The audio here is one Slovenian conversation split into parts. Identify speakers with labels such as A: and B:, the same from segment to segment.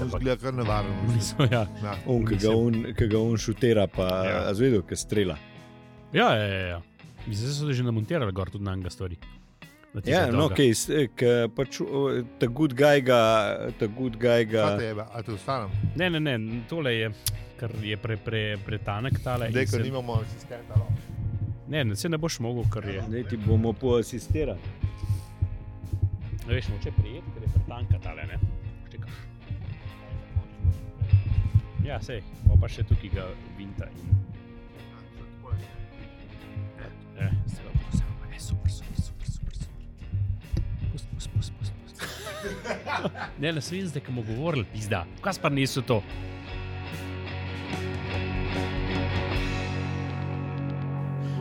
A: ampak-
B: Zgleda kar nevaren.
A: Mislim, ja.
B: Ja.
C: On, ki ga on, ki ga on šutira, pa
B: Ja.
C: ja. zvedel, ki strela.
A: Ja, ja, ja, ja. Mislim, da so že namontirali gor tudi na enega stvari. Na tistega
C: Ja, no,
A: dolga.
C: okay, s- eh, ke pač, o, ta good guy ga, ta good guy
B: Kaj te
C: ga.
B: je, a te ostanem?
A: Ne, ne, ne, tole je, ker je pre, pre, pretanek tale. in
B: Deko
A: se-
B: nimamo asistenta. no.
A: Ne, ne, se ne boš mogel, ker je.
C: Ne, ti bomo poasistirali.
A: Ne veš, moče prijeti, ker je pretanka tale, ne. Čekaš. Ja, sej, bo pa še tukaj ga vinta in. Eh, zelo bo se vam, eh, super, super, super, super. super. Pust, pust, pust, pust, pust. ne, ne svin zdaj, ki mu govorili, pizda. Kaj pa niso to?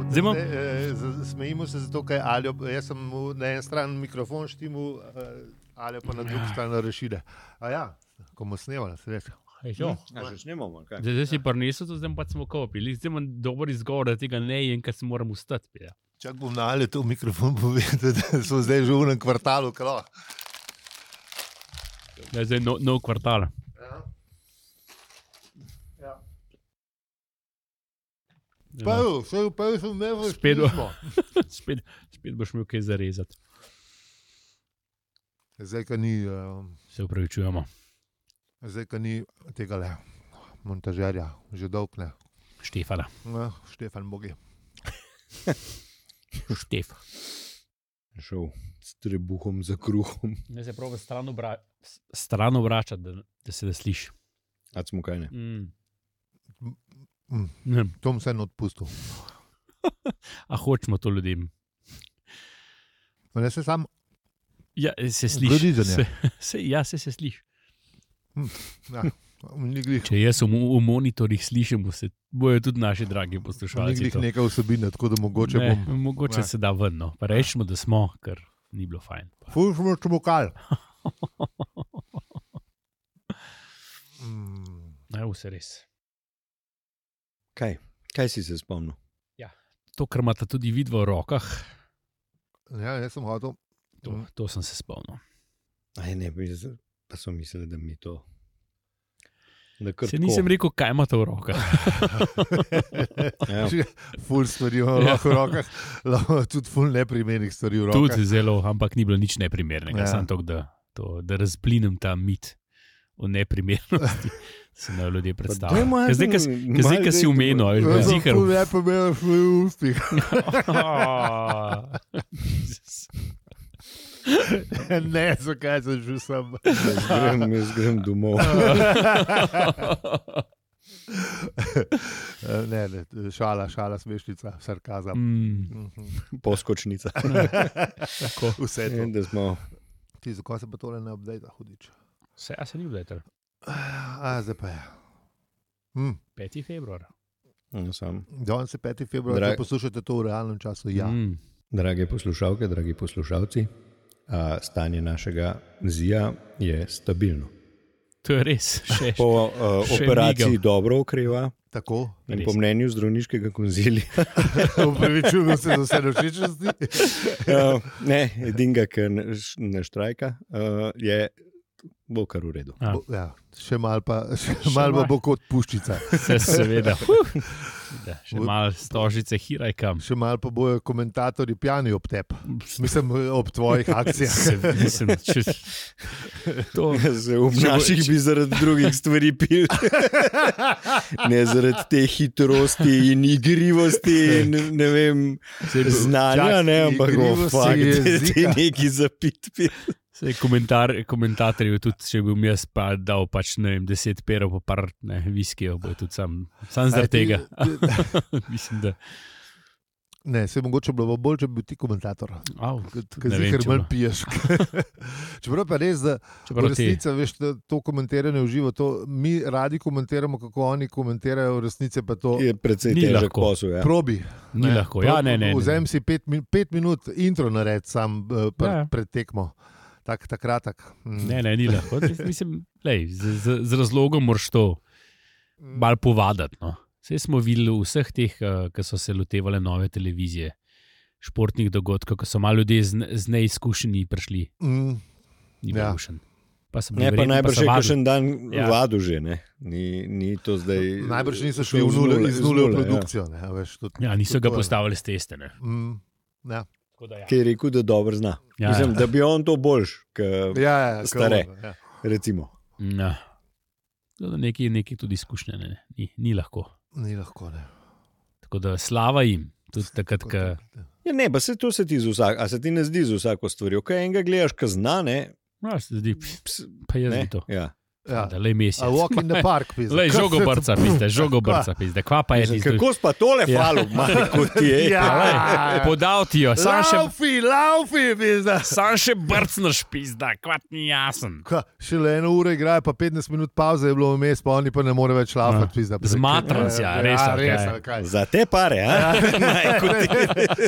A: Zdaj imam-
B: Zdaj, eh, z- Smejimo se zato, ker je Aljo, jaz sem mu na eni strani mikrofon štimu, ali pa na drugi strani rešile. A ja, ko bomo snemali, se reče.
A: Hej, jo.
C: Ja, že snemamo, kaj?
A: Zdaj, zdaj si prinesel, to, zdaj pa smo kopili. Zdaj imam dober izgovor, da tega ne jem, ker se moram ja. ustati. pija.
B: Čak bom na ali to v mikrofon povedal, da smo zdaj že v enem kvartalu. Klo.
A: Ja, zdaj nov no kvartal. Ja.
B: Prvi, vse v prvem sem ne veš.
A: Spet bo. spet, spet boš imel kaj zarezati.
B: Zdaj, ko ni, eh,
A: Se upravičujemo.
B: zdaj, ko ni tega le, montažerja, že dolg ne.
A: Štefana.
B: No, Štefan Bogi.
A: Štef.
C: Šel s trebuhom za kruhom.
A: Ne se pravi, stran, obra stran obračati, da, da se da sliši.
C: A smo kaj ne?
A: Mm.
B: Mm.
A: Ne,
B: To sem vseeno odpustil.
A: a hočemo to ljudem.
B: Ma No, Ne se sam,
A: Ja, se sliši.
B: Gorizen
A: Se,
B: je.
A: se, ja, se, se sliši.
B: ja, ni glih.
A: Če jaz v, mo- v monitorjih slišim, se bojo tudi naši dragi
B: Ni
A: poslušalci.
B: glih
A: to.
B: neka vsebina, tako da mogoče ne. bom.
A: ne, mogoče
B: ne.
A: se da ven, no. pa rečemo, da smo, ker ni bilo fajn. Pa.
B: Fuš mu čmokal. Mm.
A: Ja, vse res.
C: Kaj? Kaj si se spomnil?
A: To, kar imata tudi vidva v rokah,
B: Ja, jaz sem hodil.
A: to, to sem se spomnil.
C: Aj ne, mi z- pa so mislili, da mi to. Da kar
A: Se
C: tako.
A: nisem rekel, kaj imata v rokah.
C: Ja.
B: Ful stvari imamo
A: Ja.
B: ja. v rokah, lahko tudi ful neprimernih stvari v rokah.
A: Tudi zelo, ampak ni bilo nič neprimernega, ja.
B: Ja.
A: samo to, da, to, da razblinem ta mit o neprimernosti, ki se nam ljudje predstavljajo.
C: dajmo
A: Ker Zdaj, ko
C: eden,
A: ka zdaj,
C: malo
A: ka si
C: dajte
A: umenil, a veš,
B: Jaz
A: brez
B: sem
A: zihar.
B: ful neprimernih stvari v ustih. ne, zakaj sem že sam.
C: Jaz grem, jaz grem domov.
B: Eh, ne, ne, šala, šala, smešnica, sarkazam.
A: Mm,
B: Mhm.
C: Poskočnica.
A: tako.
B: Vse to.
C: Ne, da smo.
B: Ti, zakaj se pa tole ne update, hudič?
A: Vse, a se ni vletel.
B: A, zdaj pa ja. je. Mm.
A: 5. februar.
C: Ja, sam.
B: Danes je 5. februar,
C: Drag-
B: če poslušate to v realnem času. Ja.
A: Mm,
C: Drage poslušalke, dragi poslušalci, a, stanje našega zija je stabilno.
A: to je res. Še,
C: Po a,
A: Še
C: operaciji
A: migel.
C: dobro okreva
B: Tako,
C: in
A: Res.
C: po mnenju zdravniškega konzilija.
B: upravičujem se za vse nevšečnosti.
C: a, eh, ne, edinega, ki ne, š- ne štrajka, a, je bo kar v redu.
A: Ja.
B: Bo- Ja, še malo pa, še
A: Še
B: mal pa
A: malo.
B: bo kot puščica.
A: Se, seveda. Da, še malo stožice hirajkam.
B: Še malo pa bojo komentatorji pijani ob tebi. Mislim, ob tvojih akcijah.
A: Mislim, če, to,
C: Z- V naših bi zaradi drugih stvari pil. Ne zaradi te hitrosti in igrivosti in ne vem. znanja,
B: čak,
C: ne, ampak
B: igrivosti
C: fakt,
B: jezika.
C: ti neki zapitvi.
A: Sej komentar, komentatorjev, tudi če bi jim jaz pa dal pač, ne vem, deset perov, pa par ne, viskijev, bo tudi sam, sam
B: A
A: zaradi
B: ti-
A: tega.
B: ti-
A: Mislim, da.
B: Ne, se mogoče bi bilo bolj, če bi bil ti komentator.
A: Au,
B: Ker
A: ne
B: si
A: vem,
B: kar
A: če
B: manj
A: bo.
B: piješ. Čeprav pa res, da
A: Čeprav ti-
B: resnica, veš, to, to komentiranje v živo, to mi radi komentiramo, kako oni komentirajo, resnice pa to.
C: Je precej
A: Ni
C: težek
A: lahko.
C: posel. Ja.
B: Probi.
A: Ni lahko. Ja, ne, ne, ne.
B: Vzem si pet, min, pet minut intro nared, sam eh, pr,
A: Ja, ja.
B: ja. pred tekmo. Tak, tak kratek. Mm.
A: Ne, ne, ni lahko. Mislim, lej, z, z, z razlogom moraš to
B: Mm.
A: malo povadati. No. Vse smo videli v vseh teh, eh, ki so se lotevali nove televizije, športnih dogodkov, ko so malo ljudje z, ne- z neizkušenji prišli,
B: Mm.
A: ni bilo
B: Ja.
A: všen. Pa sem
C: Ne, pa
A: neverjetno,
C: najbrž
A: sem
C: je
A: vadil.
C: kakšen dan
A: Ja.
C: ja. vadu že, ne. Ni, ni to zdaj.
B: Najbrž niso
C: šel
B: šli v
C: z
B: nule, iz nule v
C: ja.
B: produkcijo. Ne, a veš, tudi,
A: Ja, niso
B: tudi
A: ga
B: to je.
A: postavili s teste. Ne?
B: Mm, ja.
A: Tako da ja.
C: Ki je rekel, da dobro zna.
A: Ja,
C: Ja, Mislim,
A: ja.
C: da bi on to boljš, kot
B: Ja, ja, ja,
C: Stare.
B: kar bo, ja.
C: recimo.
A: Ja. Tako da Neki, neki tudi izkušnje ne? ni, ni lahko.
B: Ni lahko. Ne.
A: Tako da slava jim, tudi takrat,
B: Tako
A: ko
B: da-
C: Ja, ne, pa se to se ti, z vsak, a se ti ne zdi z vsako stvarjo. Kaj enega gledaš, kaj znane,
A: ja, se zdi,
C: ps,
A: pa jaz
C: ne.
A: bi to.
C: Ja.
B: Ja.
A: Da, le mesec.
B: A walk in the park, pizda.
A: Le žogo brca, pizde, žogo brca, pizde. Kva pa je
C: Mislim,
A: tisto?
C: Kako spa tole
A: Ja.
C: falo, malo kot ti je.
B: Ja.
A: A lej, Podal ti jo, sam še,
B: Laufi, laufi, pizda.
A: sam še brcnaš, pizda, kvat ni jasen.
B: Ka, šele eno uro igrajo, pa 15 minut pauze je bilo vmes, pa oni pa ne morejo več
A: Ja.
B: laufati. pizda.
A: Zmatranci, ja, res,
B: Ja,
A: ali
B: res,
A: kaj?
B: ali kaj.
C: Za te pare, a?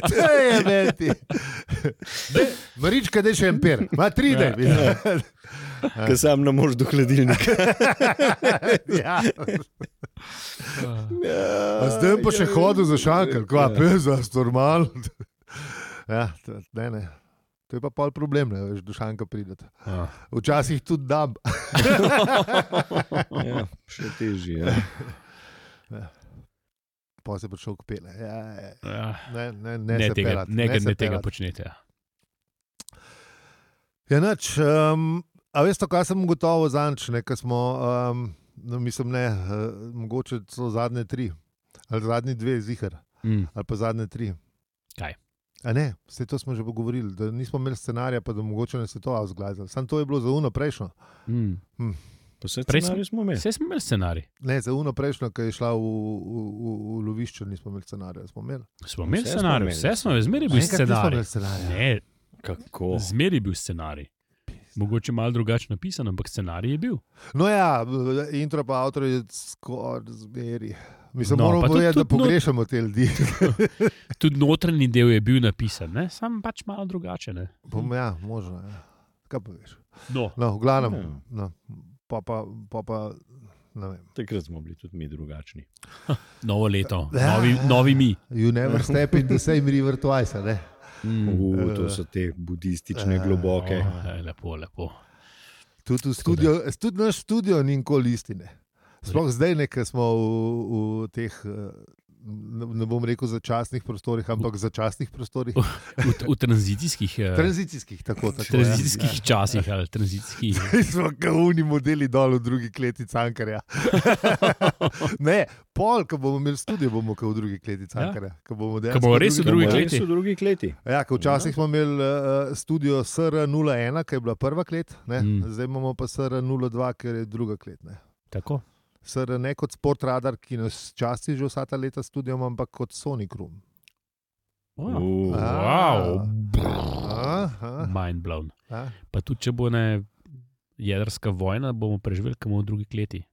B: To je meti. Marička, da še empir, ima tri dni.
A: Ja.
C: ki sam ne moreš do hladilnika.
B: Ja. A Zdaj pa še hodil za šankar,
A: Ja.
B: kva peza, normal. Ja, to- ne, ne. To je pa pol problem, ne veš, do šanka pridete.
A: Ja.
B: Včasih tudi dam.
C: Ja, še težje. Ja.
B: Pa se bo šel kupile. Ja, ja.
A: Ja.
B: Ne, ne, ne,
A: Ne,
B: se
A: tega,
B: pelat,
A: ne,
B: ne,
A: ne
B: se
A: tega
B: pelat.
A: počnete. ja.
B: Ja, nič. Um, a veste, kaj sem gotovo zanč, ne, ko smo, um, no, mislim, ne, uh, mogoče so zadnje tri, ali zadnji dve zihar,
A: Mm.
B: ali pa zadnje tri.
A: Kaj?
B: A ne, vse to smo že pogovorili, da nismo imeli scenarija, pa da mogoče ne se to avzglazili. Sam to je bilo za uno prejšnjo.
A: Mm. Prej
C: Prej
A: smo-
C: smo imeli.
A: Vse smo imeli scenarij.
B: Ne, za uno prejšnjo, ki je šla v, v, v, v lovišče, nismo imeli scenarija. Smo imeli.
A: Smo imeli
C: Vse smo
A: scenarij,
C: imeli.
A: vse smo imeli, zmeraj je bil
B: Enkrat nismo
A: scenarij.
B: imeli scenarija.
A: Ne,
C: Kako?
A: zmeraj je bil scenarij. Mogoče malo drugače napisan, ampak scenarij je bil.
B: No, ja, b- intro pa avtor je skoraj zmeri. Mislim,
A: No,
B: no,
A: pa tudi-
B: moramo povedati, da
A: tudi not-
B: pogrešamo te ljudi.
A: Tudi notranji del je bil napisan, ne? sam pač malo drugače. Ne?
B: Bom, ja, možno. Ja. Kaj pa veš?
A: No,
B: No, v glavnem,
C: Ja.
B: no, pa pa, pa, pa ne vem.
C: Takrat smo bili tudi mi drugačni.
A: novo leto,
B: Ja,
A: novi,
B: ja.
A: novi mi.
B: You never step in the same river twice, a ne?
A: Mm.
C: U, to so te budistične, globoke.
A: Oh, lepo, lepo.
B: Tudi v studio, tudi naš studio ni nikoli istine. Sploh zdaj, ne, ker smo v, v teh, eh, ne ne bom rekel začasnih prostorih, ampak začasnih prostorih,
A: V, v tranzicijskih, eh,
B: tranzicijskih, tako tako. ja.
A: tranzicijskih časih ali tranzicijskih.
B: Mi smo kauni modeli dol v drugi kleti cankarja. ne, pol, ko bomo imeli studio, bomo kot v drugi kleti cankarja. Ko Ja. bomo
A: Ko bo
B: dejansko
A: res v drugi
C: Ja,
A: kleti.
C: so drugi kleti.
B: Ja, ko včasih smo imeli uh, studio SR01, ki je bila prva klet,
A: Mm.
B: mm. zdaj imamo pa SR02, ki je druga klet. Ne.
A: Tako.
B: SR ne kot sport radar, ki nas časti že vsa ta leta studiom, ampak kot Sonic Room.
A: Wow.
C: U,
B: A.
A: Wow.
B: Aha,
A: Mind blown.
B: a,
A: Pa tudi, če bo ne jedrska vojna, bomo preživeli kam v drugi kleti.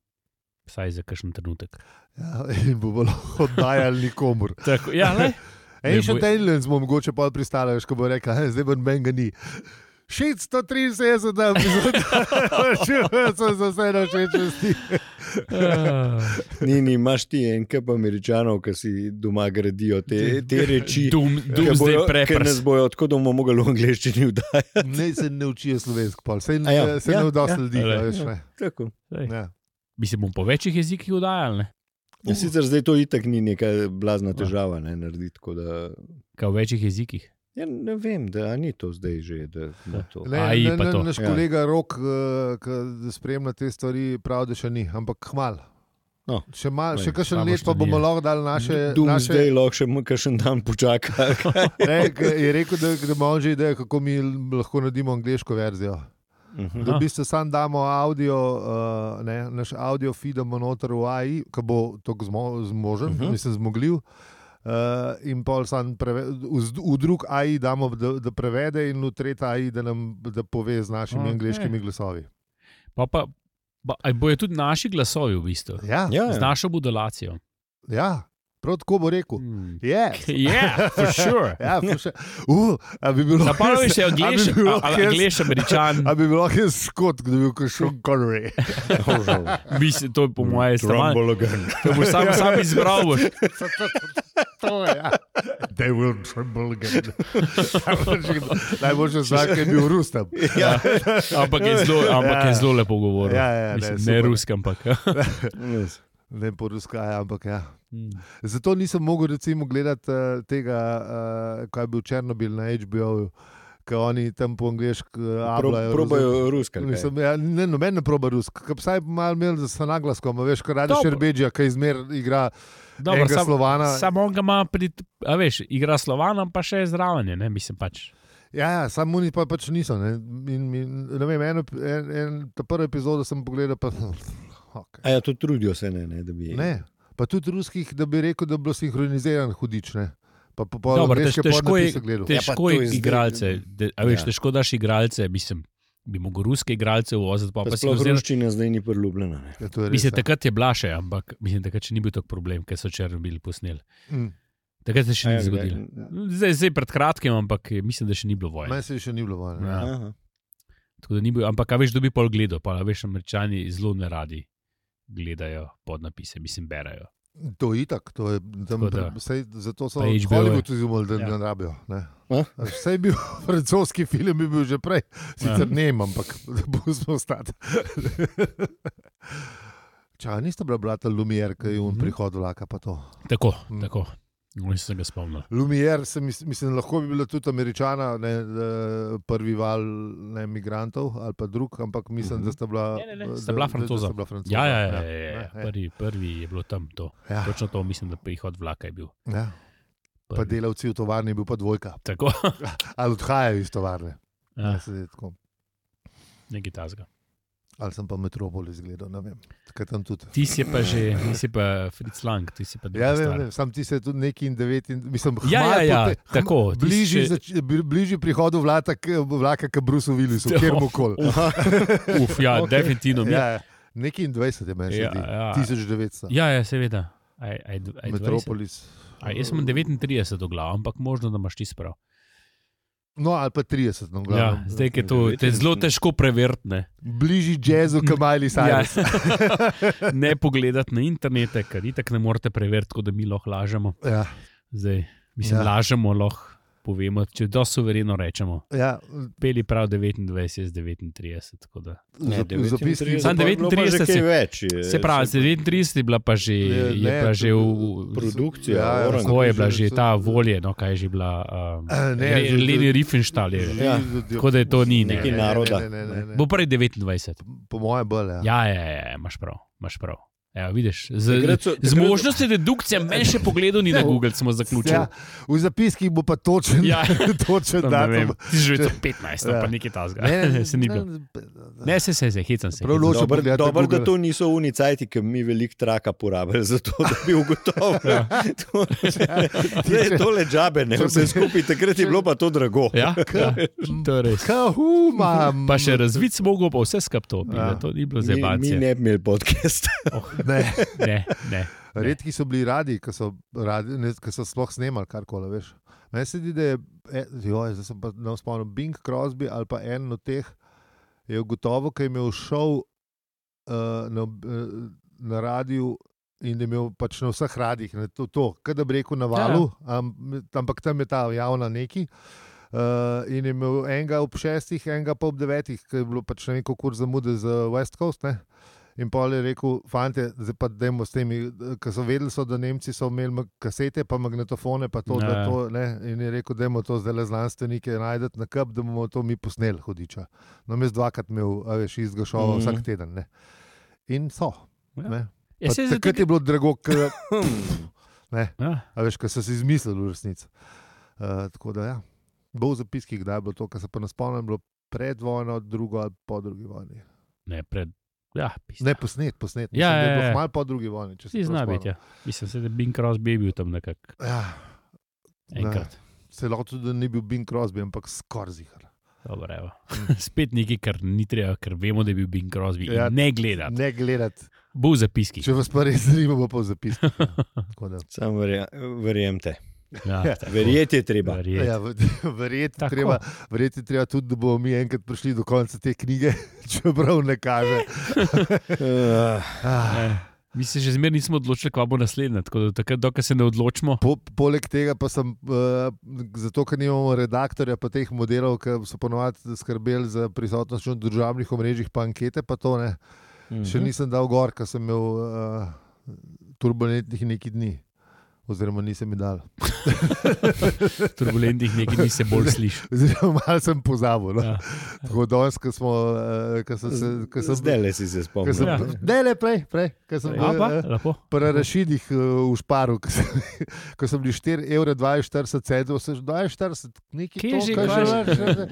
A: Vsaj za kakšen trenutek.
B: ja, in bomo lahko oddajali nikomur.
A: Tako, ja, le. Ne
B: Ancient
A: bo-
B: Aliens bomo mogoče pol pristali, veš, ko bo rekel, "Hej, zdaj bo meni ga ni. 673, da bi se za vse našečesti.
C: Ni, ni, imaš ti en kup američanov, ki si doma gradijo te, te reči.
A: Dum,
C: ki
A: dum zdaj
C: bojo- ki
A: prepres.
C: nas bojo, tako da bomo mogli v angleščini vdajati.
B: Ne se ne učijo slovensko, pol. se
C: A
B: ne,
C: ja,
B: ja, se ja,
C: ja,
B: ne vdosti
C: ja.
B: ja, ljudi.
A: Ale.
B: Ja, veš, ne.
C: Tako.
B: ja.
A: Bi se bom po večjih jezikih udajal, ne?
C: Ja, sicer zdaj to itak ni neka blazna
A: Ja.
C: težava, ne narediti tako. Da,
A: Kaj v večjih jezikih.
C: ja, ne vem, da a ni to zdaj že. Da, smo to.
B: Ne,
A: Aj,
B: ne,
A: pa
B: ne,
A: to.
B: naš
C: Ja.
B: kolega Rok, eh, ki spremlja te stvari, pravi, da še ni, ampak hmal.
C: No.
B: Še, mal,
A: Lej,
B: še kakšen
A: slabo
B: let pa
A: študije.
B: bomo lahko dali naše.
C: Dum naše...
B: naše
C: zdaj lahko še kakšen dan počaka.
B: ne, ke je rekel, da, da ima on že idejo, kako mi lahko naredimo angliško verzijo.
C: Mhm.
B: Da v bistvu samo damo audio, uh, ne, naš audio feedamo noter v AI, ki bo tako zmo, zmožen, uh
C: Mhm.
B: -huh. mislim, zmogljiv. Uh, in pol sam preve, v, z- v drug AI damo, da, da prevede, in v tretji AI, da nam da pove z našimi
A: Okej.
B: okay. angliškimi glasovi.
A: Pa pa, pa a bojo tudi naši glasovi v bistvu.
B: Ja, ja.
C: Ja,
A: Z
C: ja.
A: našo budalacijo.
B: ja prav tako bo rekel.
A: Hmm.
B: Je.
A: Yeah, for sure.
B: Ja, še, uh, a bi bilo
A: Zapomni se,
B: a bi bilo res-
A: angliš, američan.
B: A bi bilo kaj skot, da bi bil kot Sean Connery.
A: Mislim, to je
B: Mm,
A: po mojem stran.
B: Ja.
C: Trumbologan.
A: To boš sam, sam izbral. Boš.
B: to je. Ja. They will tremble again. Najboljši znak je bil Rustam.
C: Ja.
A: Ampak je zelo, ampak je
B: Ja.
A: zelo lepo govoril.
B: Ja, ja, ne,
A: Mislim, ne, ne
B: super.
A: ruski, ampak. ja.
C: Res.
B: Ne poruskaja, ampak ja. Zato nisem mogel recimo gledati eh, tega, eh, kaj je bil Černobil na HBO-ju, ki oni tam po angliški
C: Pro,
B: ablajo.
C: probajo ruska.
B: Mislim, ja, ne, noben ne proba rusk, ki vsaj malo imel za naglasko, ima veš, kar radi
A: Dobro.
B: šerbeđa, ki izmer igra
A: Dobro,
B: enega
A: sam,
B: Slovana.
A: samo on ga ima, pri, a veš, igra Slovanom, pa še je zraven, je, ne mislim pač.
B: Ja, ja samo oni pa, pač niso. Ne. In, in, ne vem, eno, en, en, ta prvi epizodo sem pogledal, pa, okay.
C: A ja, to trudijo se ne, ne da bi.
B: ne, pa tudi ruskih, da bi rekel, da je bilo sinhroniziran hudič. Ne. Pa po pol
A: Dobro,
B: angleške
A: tež- težko
B: podnapise
A: je-
B: gledal.
C: Ja, pa to
A: Težko
C: je
A: je
C: zdaj-
A: igralce, de, a veš,
C: Ja.
A: ja. težko daš igralce, mislim, bi mogel ruske igralce uvoziti, pa,
C: Pa,
A: pa
C: pa
A: si
C: sploh
A: vzel.
C: ruščina zdaj ni priljubljena. ne.
B: Ja, to je res,
A: Mislim,
B: ja.
A: takrat je bila še, ampak mislim, takrat še ni bil tak problem, ker so Černobil posneli.
B: Mm.
A: Takrat se še
C: A
A: ni
C: ja,
A: zgodilo.
C: kdaj-
A: Zdaj, zdaj pred kratkim, ampak eh, mislim, da še ni bilo vojne.
B: Meni se še ni bilo vojno.
A: Ja.
C: Aha.
A: Tako da ni bil, ampak a veš, dobi pol gledal, pa a veš, američani zelo neradi gledajo podnapise, mislim, berajo.
B: To je itak, to je tam,
A: Tako da.
B: sej, zato so
A: Pa
B: v
A: HBO je.
B: Hollywoodu izumili, da
A: Ja.
B: ne rabijo. ne.
C: A?
B: Vse je bil, francoski film je bil že prej, sicer
A: Ja.
B: ne vem, ampak pustimo ostati. Ča, niste bila brata Lumier, ki je on
A: Mhm.
B: prihod vlaka pa to.
A: Tako,
B: Mm.
A: mm. tako. No, jaz sem ga spomnil.
B: Lumier, se, mis- mislim, lahko bi bila tudi američana, ne, eh, prvi val ne, migrantov ali pa drug, ampak mislim,
C: Mhm.
B: da sta bila,
A: Ne, ne, ne,
B: da-
A: sta bila
B: da- da
A: Francoza.
B: sta bila francoza.
A: Ja, ja, ja, ja, ja, ja.
B: ne,
A: Prvi, prvi je bilo tam to.
B: ja,
A: Točno to mislim, da prihod vlaka je bil.
B: ja. Pa
A: prvi.
B: delavci v tovarni je bil pa dvojka,
A: Tako,
B: ali odhajajo iz tovarne.
A: ja,
B: Ne, se zdaj tako.
A: nekaj tazga.
B: Ali sem pa metropolis gledal, ne vem. Kaj tam tudi.
A: Ti si pa že, ti si pa Fritz Lang, ti si pa
B: Ja,
A: druga
B: vem,
A: stvar.
B: vem, sam ti se tudi neki in devet, in, mislim,
A: Ja,
B: hmalo
A: ja, ja,
B: pote- hm-
A: tako, ti si
B: Bližji,
A: še-
B: zač, bli- bližji prihodu vlata, k- vlaka, kot Bruce Willis,
A: Ja.
B: kjer mu koli.
A: Uf, ja,
B: Ok.
A: okay. definitivno. Ja,
B: Ja, neki in dvajset je meni,
A: Ja,
B: ja, ja.
A: ja.
B: 1900.
A: ja, ja seveda. Aj, aj, dv- aj
B: Metropolis.
A: 20. Aj, jaz sem 39 do glav, ampak možno, da imaš ti sprav.
B: No, ali pa 30,
A: Ja,
B: no, glavno.
A: zdaj je to te je zelo težko preveriti.
B: Bližji jazzu, kot Miley
A: Ja.
B: Cyrus.
A: ne pogledati na internet, ker itak ne morete preveriti, tako da mi lahko lažemo.
B: Ja.
A: Zdaj, mislim,
B: Ja.
A: ja. lažemo lahko. Povemo, če do suvereno rečemo,
B: Ja,
A: peli prav 29, jaz 39. tako da.
C: Ne,
B: v zapisniku.
C: 39
A: Samo
C: pa je bilo pa že
A: 39
C: kaj
A: se-
C: več.
A: Se pravi,
C: se-
A: 37 je bila pa že, je,
B: Ne, ne,
A: pa že v, v,
C: produkcija,
B: Ja, ja,
C: orang.
B: sem
A: Ko je
B: že-
A: bila že
B: sem-
A: ta volje, no kaj je že bila, um,
B: Eh, ne, že-
A: Leni Riefenstahl je.
C: Ja,
A: Tako da je to ni
C: Nekaj
A: ne.
C: naroda.
B: Ne, ne, ne, ne,
A: Bo
B: ne.
A: prej 29.
B: Po mojem, bolj. Ja.
A: Ja, ja, ja, ja imaš prav, imaš prav. Ja, vidiš, z,
C: Takrat so-
A: z
C: takrat-
A: možnostjo dedukcije, meni še pogledal ni na Google, smo zaključili.
B: Ja, v zapiskih bo pa točen,
A: Ja.
B: ja. točen
A: Tam ne vem,
B: datum.
A: Ti si že to 15, ali
B: Ja.
A: pa nekaj tasga. se ni bilo. Ne, se se, se hecam se.
B: Prav
A: hecam se.
B: ločen.
C: Dobro,
B: pogledate
C: dobro da
B: Google.
C: to niso unicajti, ki mi veliko traka porabili, zato da bi ugotovili. To- Zdaj je tole džabe, ne vse skupaj, takrat je bilo pa to drago.
A: Ja, ja, to je res.
B: Kahu, imam.
A: Pa še razvid smo mogli, pa vse skup to. Ja.
B: Ja.
A: To ni bilo
C: Mi, mi
A: zebancije.
C: ne bi imeli podcasta.
B: Ne,
A: Ne, ne.
B: redki so bili radi, ki so, radi, ne, ki so sploh snemali karkoli. veš. Meni se zdi, da je, eh, joj, zdaj sem pa ne spomnil, Bing Crosby ali pa en od teh je ugotovil, ki je imel šov uh, na, ob- eh, na radiju. In da je imel pač na vseh radih, ne, to, to kaj da bi rekel na valu, ja. am, ampak tam je ta javna neki. Uh, in je imel enega ob šestih, enega pa ob devetih, ker je bilo pač ne neko kur zamude za West Coast. Ne? In pol je rekel, fante, zdaj pa dajmo s temi, ki so vedeli, so, da Nemci so imeli mag- kasete, pa magnetofone, pa to, da
A: Ja.
B: to ne. In je rekel, dajmo to zdaj le znanstvenike najdete na kup, da bomo to mi posneli, hudiča. No, jaz dvakrat imel, a veš, izgašoval
C: Mhm.
B: mm. vsak teden. Ne. In so.
A: Ja.
B: Ja.
A: Ja, saj zato,
B: Takrat je bilo drago, ker,
C: Hm.
A: ja.
B: a veš, kar so si izmislili v resnici. Uh, tako da, ja. bo v zapiskih, kdaj je bilo to, kar se pa ne spomnim, bilo pred vojno, drugo ali po drugi vojni.
A: Ne, pred. Ja, pizda.
B: Ne posnet, posnet.
A: Ja,
B: Mislim, da
A: ja,
B: je bilo
A: ja.
B: malo po drugi vojni. če se
A: Ti
B: prav
A: zna
B: spomnim.
A: biti, ja. Mislim, se, da Bing Crosby je bil tam nekako
B: Ja,
A: enkrat.
B: Celo tudi, da ni bil Bing Crosby, ampak skoraj zihar.
A: Dobro, evo. Spet nekaj, kar ni treba, ker vemo, da je bil Bing Crosby.
B: Ja.
A: Ja. Ne gledati.
B: Ne gledati.
A: Bo v zapiskih.
B: Če vas pa res zanima, bo pa v zapisku.
C: Sam verjemte.
A: Ja, tako.
C: Verjeti je treba.
A: Verjeti.
B: Ja, v- verjeti je
A: Tako.
B: treba, verjeti je treba tudi, da bomo mi enkrat prišli do konca te knjige, čeprav ne kaže.
C: Uh,
B: Ah,
A: Ne. Mi se še zmeraj nismo odločili, kva bo naslednja. Tako da, takrat, dokaj se ne odločimo,
B: Po, poleg tega pa sem, uh, zato ker nimamo redaktorja, pa teh modelov, ki so ponovadi skrbeli za prisotnost na državnih omrežjih, pa ankete, pa to ne.
C: Mhm.
B: Še nisem dal gor, ker sem imel uh, turbulentnih nekaj dni. Oziroma, nisem jih dal.
A: turbulentnih nekaj dni se bolj sliši.
B: Oziroma, malo sem pozabil. No.
A: Ja.
B: Ja. Tako da danes, ko smo, eh, ko sem se, ko sem
C: Zdaj le si se
B: ko sem,
C: spomnil.
A: Ja.
B: ne, ne, prej, prej, ko sem
A: A pa,
B: eh,
A: lepo.
B: Pri Rašidih eh, v Šparu, ko sem- ko sem bil 4,42 evra, se že 42, nekaj
A: Kje
B: to,
A: že,
B: kar
A: kva že?
B: vrže.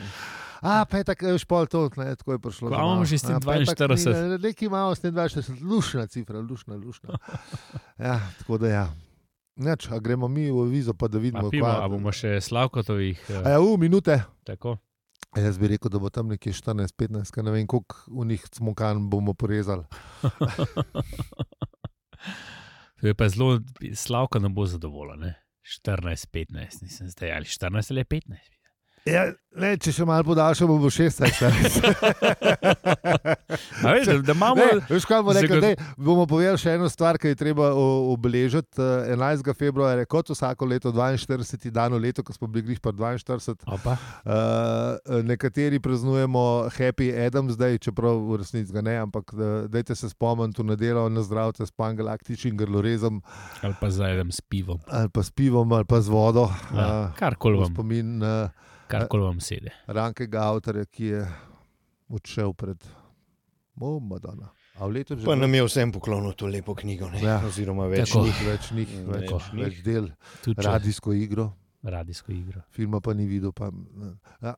B: A, petek, eh, špol to, ne, tako je prišlo.
A: Kva
B: za mano.
A: imamo že s tem
B: A, petek
A: 42?
B: ni, ne, Nekaj imamo s tem 42, lušna cifra, lušna, lušna. Ja, tako da ja. Neč, a gremo mi v vizo, pa
A: A
B: da vidimo,
A: pimo,
B: kva-
A: a bomo še slavkotovih. eh,
B: A ja, v minute.
A: Tako.
B: A Jaz bi rekel, da bo tam nekje 14-15, ker ne vem, koliko v njih smokan bomo porezali.
A: To je pa zelo, slavka ne bo zadovoljna. ne. 14, 15, nisem zdaj ali 14 ali 15.
B: Ja, ne, če še malo podaljšamo, bo 16.
A: A veš, da, da imamo.
B: Ne, veš, kaj bomo rekli?
A: Zagod-
B: Dej, bomo povedali še eno stvar, ki je treba o- obeležiti. Eh, 11. februar je kot vsako leto, 42. dan v letu, ko smo bili glih pa 42.
A: Opa,
B: Uh, nekateri praznujemo Happy Adam, zdaj, čeprav v resnici ga ne, ampak eh, dajte se spomniti v nedeljo na zdravce s pangalaktičnim grlorezom
A: ali pa zajedem s pivom.
B: ali pa s pivom ali pa z vodo.
A: Ja,
B: eh,
A: Karkoli
B: v
A: vam,
B: spomin na
A: karkol vam sedi.
B: rankega avtorja, ki je odšel pred oh, Madonna. A v letu že
C: Pa nam je vsem poklonil to lepo knjigo, ne?
B: Ja.
C: oziroma več
A: Tako.
C: njih.
B: več njih,
C: Mm,
B: več,
A: tako.
B: več del,
A: Tudi radi.
B: radijsko igro,
A: radijsko igro.
B: filma pa ni videl. Pa, a,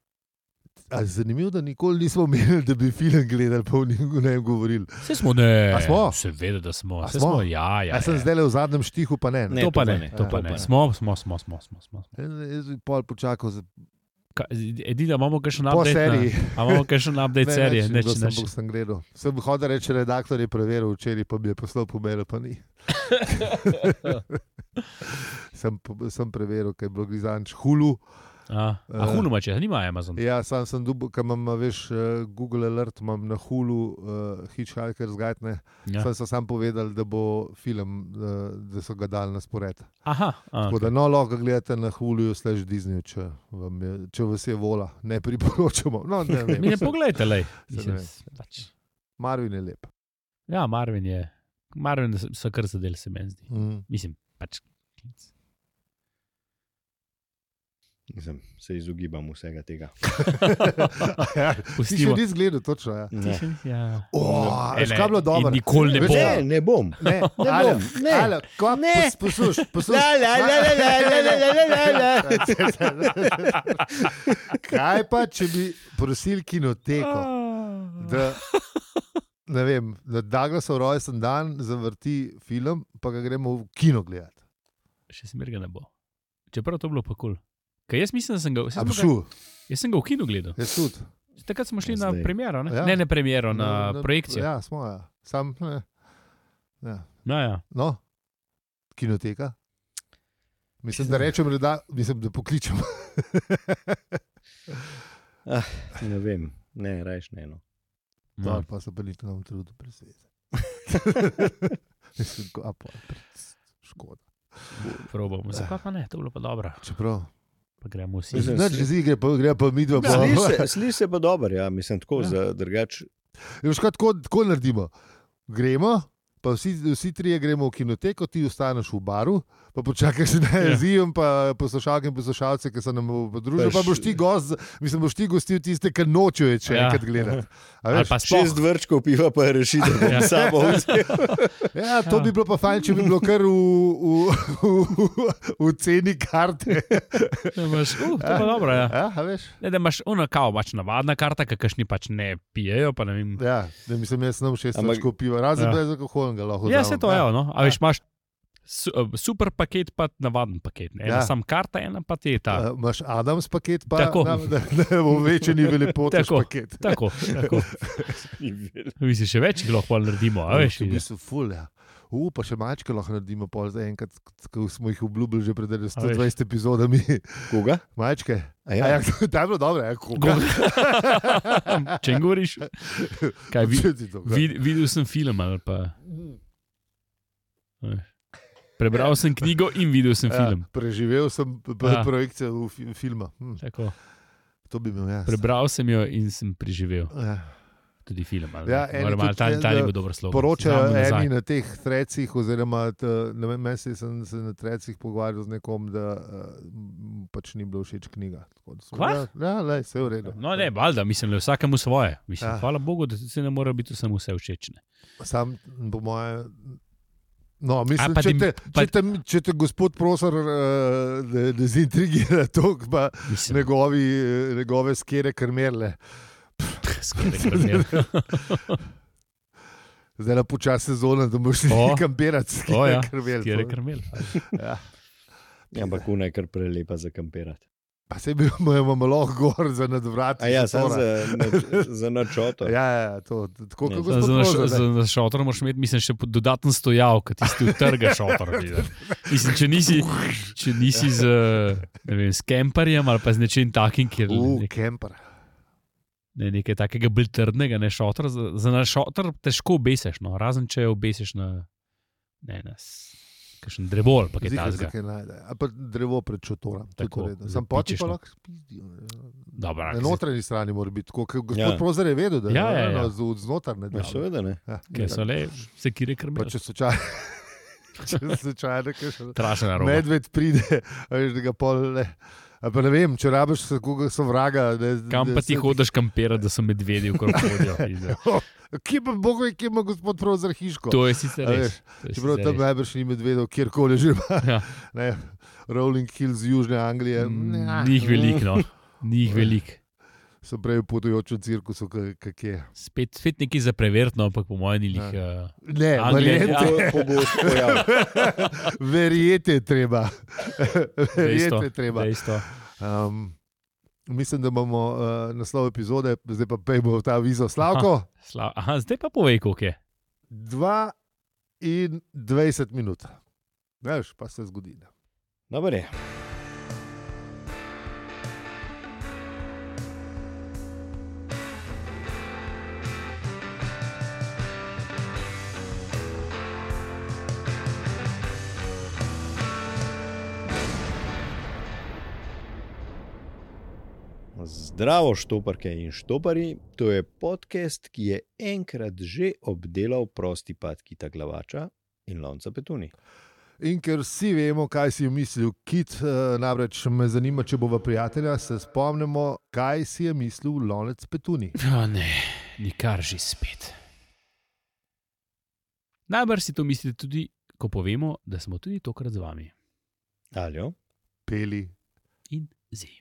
B: a zanimivo, da nikoli nismo imeli, da bi film gledali, pa v njem- o njem govorili.
A: Vse smo, ne,
B: A smo?
A: Seveda, da smo.
B: A
A: Vse
B: smo?
A: smo, ja, ja.
B: Ja, sem
A: ja.
B: zdaj le v zadnjem štihu, pa ne.
A: To,
B: ne.
A: to pa ne, to pa ne. Smo, smo, smo, smo. smo, smo.
B: En- Jaz bi pol počakal, za-
A: Ka- Edino imamo še na
B: Po
A: update. na-
B: seriji.
A: a Imamo še na update serije, ne če
B: nič, sem,
A: neč.
B: bil, sem gledal. Sem hodil reči, redaktor je preveril včeraj, pa bi je poslal po mailu, pa ni. sem, po- sem preveril, kaj je bilo glizanč hulu.
A: A, a
B: Eh.
A: hunuma, če nima Amazon.
B: Ja, sam sem dubov, ker imam, veš, eh, Google Alert, imam na hulu, uh, Hitchhiker's Guide. Ne. Ja.
A: Ja.
B: Sam so sam povedali, da bo film, eh, da so ga dali na spored.
A: Aha, a,
B: Tako da no, lahko ga gledate na huluju, slash Disney, če, vam je- če vas je vola, ne priporočamo. No, ne,
A: mi ne
B: ne,
A: pogledajte, le.
B: ne vem. Marvin je lep.
A: pač, Ja, Marvin je, Marvin so- so kar zadeli, se meni zdi.
B: Mm.
A: Mislim, pač.
C: Mislim, se izogibam vsega tega.
B: ja, ti še
A: Pustimo.
B: nisi gledal, točno. Ja.
C: Ne,
A: Ja.
B: Oh,
A: E,
B: ne, kaj bilo dobro?
A: in Nikoli ne
B: Veš,
A: bo.
C: ne, ne bom.
B: Ne,
C: Ne
B: Ale,
C: bom, ne.
B: Ale, ko-
C: Ne.
B: pos- Poslušaj, poslušaj.
C: La, la, la, la, la, la, la, la, la, la, la.
B: Kaj pa, če bi prosili kinoteko, da, ne vem, da Douglasov rojsten dan zavrti film, pa ga gremo v kino gledati.
A: Še smerga ne bo. Čeprav to bilo pa kul. Cool. Kaj jaz mislim, da sem ga, saj smo
B: Am
A: ga-
B: šel,
A: jaz sem ga v kinu gledal.
B: jaz tudi.
A: Takrat smo šli
C: Ja,
A: na
C: zdaj.
A: premiero, ne,
B: Ja.
A: ne, ne premiero, na projekcijo.
B: Ja, smo, ja. sam. Ne. Ja.
A: No, ja.
B: No, kinoteka. Mislim, da rečem, da, mislim, da pokličem.
C: Ne vem, ne, rajš ne. No.
B: No.
A: No.
B: Pa se pa niti nam trudu presveze. Mislim, ko- a pa, škoda.
A: Probamo. Zakaj pa ne, to bilo pa dobro.
B: Čeprav.
A: Pa gremo vsi.
C: Mislim,
B: Znaš, že zige, pa gre pa mi
A: Ja.
B: dva. pa-
C: Sliši se, sliši se pa dober, ja, mislim, tako
A: Ja.
C: ja. za drugač.
B: Ja, veš kaj, tako, tako naredimo. Gremo, pa vsi, vsi trije gremo v kinoteko, ti ostaneš v baru, pa počakaš na
A: Ja.
B: jezijem, pa poslušalke in poslušalce, ki se nam pridružijo. Pa
C: Pa še-
B: boš ti gost, mislim, boš ti gostil tiste, ki nočejo več
A: Ja.
B: ja. enkrat gledati. A
A: Ali
B: veš?
A: pa
C: Šest
A: sploh.
C: vrčkov piva pa je rešitev, bom
A: Ja.
C: samo vzel.
B: Ja, to bi bilo pa fajn, če bi bilo kar v, v, v, v ceni karte.
A: Da imaš, Uh, to je pa dobro, ja.
B: Ja, a veš?
A: Ne, da imaš uno kao, pač navadna karta, kakšni pač ne pijejo, pa ne vem.
B: Ja, da mislim, jaz sem šest
C: Ampak-
B: let piva, razen
A: Ja.
B: ja. brez alkoholnega lahko.
A: Ja,
B: vzamem.
A: se to je, no. A veš, imaš su, eh, super paket, pa navaden paket. Ne? Ena ja.
B: Ja.
A: sam karta, ena pa te ta.
B: Eh, Imaš Adams paket, pa
A: Tako.
B: da ne bo večni velepotež
A: Tako.
B: paket.
A: Tako, tako. Mi si še več jih lahko naredimo, a veš.
B: Bili so ful, ja. U, pa še mačke lahko naredimo, pol za enkrat, ko smo jih obljubili že pred 120 epizodami.
C: Koga?
B: Mačke.
C: A
B: Ja, ja
C: Ja.
B: to je bilo dobro, ja, koga?
A: Goga. Če jim govoriš, kaj vi,
B: Če ti to gre.
A: vid, videl sem film ali pa Prebral sem knjigo in videl sem
B: Ja,
A: film.
B: preživel sem p- p-
A: Ja.
B: projekcijo v fi- filma. Hm,
D: Tako.
B: to bi imel jaz.
A: Prebral sem jo in sem preživel
B: Ja.
A: tudi film. ali
B: Ja,
A: ne?
B: eni
A: Moram, ali
B: tudi
A: ta,
B: ne,
A: ta ni
B: da
A: bil dober slog.
B: Poročajo eni na teh trecih, oziroma t, ne vem, jaz sem se na trecih pogovarjal z nekom, da uh, pač ni bilo všeč knjiga. Tako da sem-
D: Kva?
B: Ja, ja lej, vse je v redu.
A: No, ne, valjda, mislim, da je vsakemu svoje. Mislim,
B: Ja.
A: ja. Hvala Bogu, da se ne more biti vsem vse všeč. ne.
B: Sam, po moje. No,
A: A,
B: mislim,
A: pa
B: če,
A: dim-
B: te,
A: pa-
B: če, te, če te gospod Prosor eh, de- dezintrigira, to pa
A: Mislim,
B: njegovi, eh, njegove skere krmerle.
A: Skoraj krmir.
B: Zdaj je počasi sezona, da boš šel
A: O.
B: nekam berati,
A: O,
B: skere
A: ja.
B: krmerle.
A: Kjer je krmil.
C: Ja, ampak kuna je kar prelepa za kampirati.
B: Pa se bi imel lahko gor za nadvrat.
C: A ja, samo
B: zatora.
C: za, za načoto.
B: Ja, ja, to je tako,
A: Ne,
B: kot
A: za-
B: gospod
A: za-
B: Rožo.
A: Za
B: ne.
A: za šotor moraš imeti, mislim, še pod- dodaten stojal, ki ti tu trga šotor.
B: Ja,
A: vidiš. Mislim, če nisi, če nisi z, ne vem, s kemperjem ali pa z nečim takim, kjer
B: U,
A: nek,
B: kemper.
A: ne, nekaj takega bolj trdnega, ne šotor. Za, za na šotor težko obesiš, no, razen če obesiš na, ne, na s- kakšen drevo ali pa kaj
B: Zihar se
A: takega.
B: kaj najde. A pa drevo pred čotorom.
A: Tako,
B: Sam
A: zapičeš,
B: poti pa
A: no.
B: lahko spizdijo. ne.
A: Dobro,
B: Na
A: ampak se-
B: notranji strani mora biti tako, kot gospod
C: Ja.
B: Prozor je vedel, da
A: Ja,
B: ne,
A: ja,
B: no,
A: ja.
B: z- znotraj ne
C: Ja,
B: dela.
C: seveda ne.
B: Ja.
A: Ker so le sekire
B: Pa
A: krmili.
B: če slučajno, če slučajno, kakšen
A: Trašna roba.
B: medved pride, a veš, da ga pol le. a Pa ne vem, če rabiš se koga sovraga. ne,
A: Kam
B: ne,
A: pa ti
B: se-
A: hodiš kampirati, da so medvedi v krokodilih?
B: Ja, Kje pa Bog ve, kje ima gospod Prozor hiško?
A: To je sicer
B: A veš,
A: res. to je
B: Čeprav
A: sicer
B: tam
A: res.
B: najbrž ni medvedov, kjerkoli že ima.
A: Ja.
B: Ne, Rolling Hills z južne Anglije.
A: Mm, Ni jih
B: uh.
A: veliko, no. ni jih veliko.
B: So prej v potujočem cirkusu, k- kak je.
A: Spet, spet nekaj za preverjeno, ampak po mojem ni jih.
B: Ja.
A: Uh,
B: Ne,
A: Anglija,
B: verjete,
C: To je pogosto pojav.
B: verjete je treba. verjete je treba.
A: dejstvo.
B: Um, mislim, da imamo uh, naslov epizode, zdaj pa pejmo v ta vizo Slavko.
A: Sla, aha, zdaj pa povej, koliko je.
B: 22 minut. Veš, pa se zgodi. ne.
C: Dobro je. Zdravo, štoparke in štopari. To je podcast, ki je enkrat že obdelal prosti pad kita glavača in lonca petuni.
B: In ker vsi vemo, kaj si je mislil Kit, eh, namreč me zanima, če bova prijatelja, se spomnimo, kaj si je mislil Lonec Petuni.
A: No, ne, nikar že spet. Najbrž si to mislite tudi, ko povemo, da smo tudi tokrat z vami.
C: Aljo?
B: Peli,
A: In zdaj.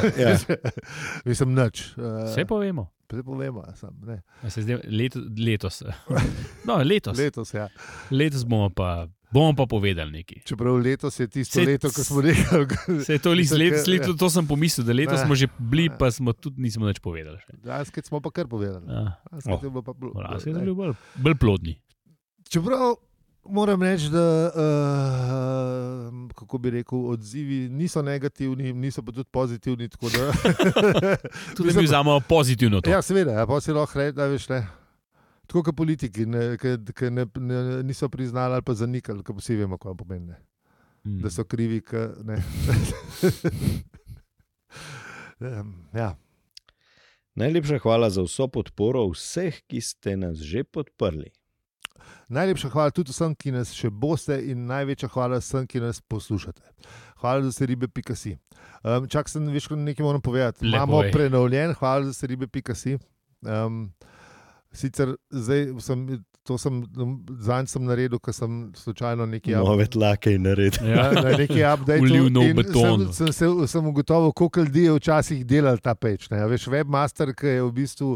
C: ja.
B: Mislim, nič. eh,
A: Vse povemo.
B: Zdaj povemo, ja, sam, ne.
A: A Se zdaj, leto, letos. No, letos.
B: Letos, ja.
A: letos bomo, pa, bomo pa povedali nekaj.
B: Čeprav letos je tisto
A: Saj-
B: leto, ko smo rekli.
A: Se je to lih
B: Mislim,
A: let,
B: ke-
A: let, to sem pomislil, da letos
B: Ne.
A: smo že bili, pa smo tudi nismo več povedali. še.
B: Lansko smo pa kar povedali.
A: Ja,
B: Lansko
C: Oh.
B: je bilo pa bilo. Eh,
A: Lansko je bilo bolj, bolj plodni.
B: Čeprav moram reči, da uh, kako bi rekel, odzivi niso negativni, niso pa tudi pozitivni. tako Da,
A: Tudi mi vzamemo pozitivno to.
B: ja, seveda, ja, pa si lahko reče, da veš le. Tako kot politiki, ki ne, ne, niso priznali ali pa zanikali, kot vsi vemo, kaj pomeni. Ne.
A: Mm.
B: Da so krivi, ki ne. Em, ja,
C: Najlepša hvala za vso podporo vseh, ki ste nas že podprli.
B: Najlepša hvala tudi vsem, ki nas še boste, in največja hvala vsem, ki nas poslušate. Hvala za se ribe.si. Um, čak sem več kot nekaj moram povedati.
A: Le
B: Imamo
A: povej.
B: prenovljen, hvala za se ribe.si. Um, sicer zdaj sem, to sem, zadnjič sem naredil, ker sem slučajno nekaj
C: Nove tlake in naredili.
B: Ja,
A: Ja.
B: na neki update.
A: Ulil nov beton.
B: Sem, sem, se- sem ugotovil, koliko ljudi je včasih delalo ta peč. Ne. a Veš, webmaster, ki je v bistvu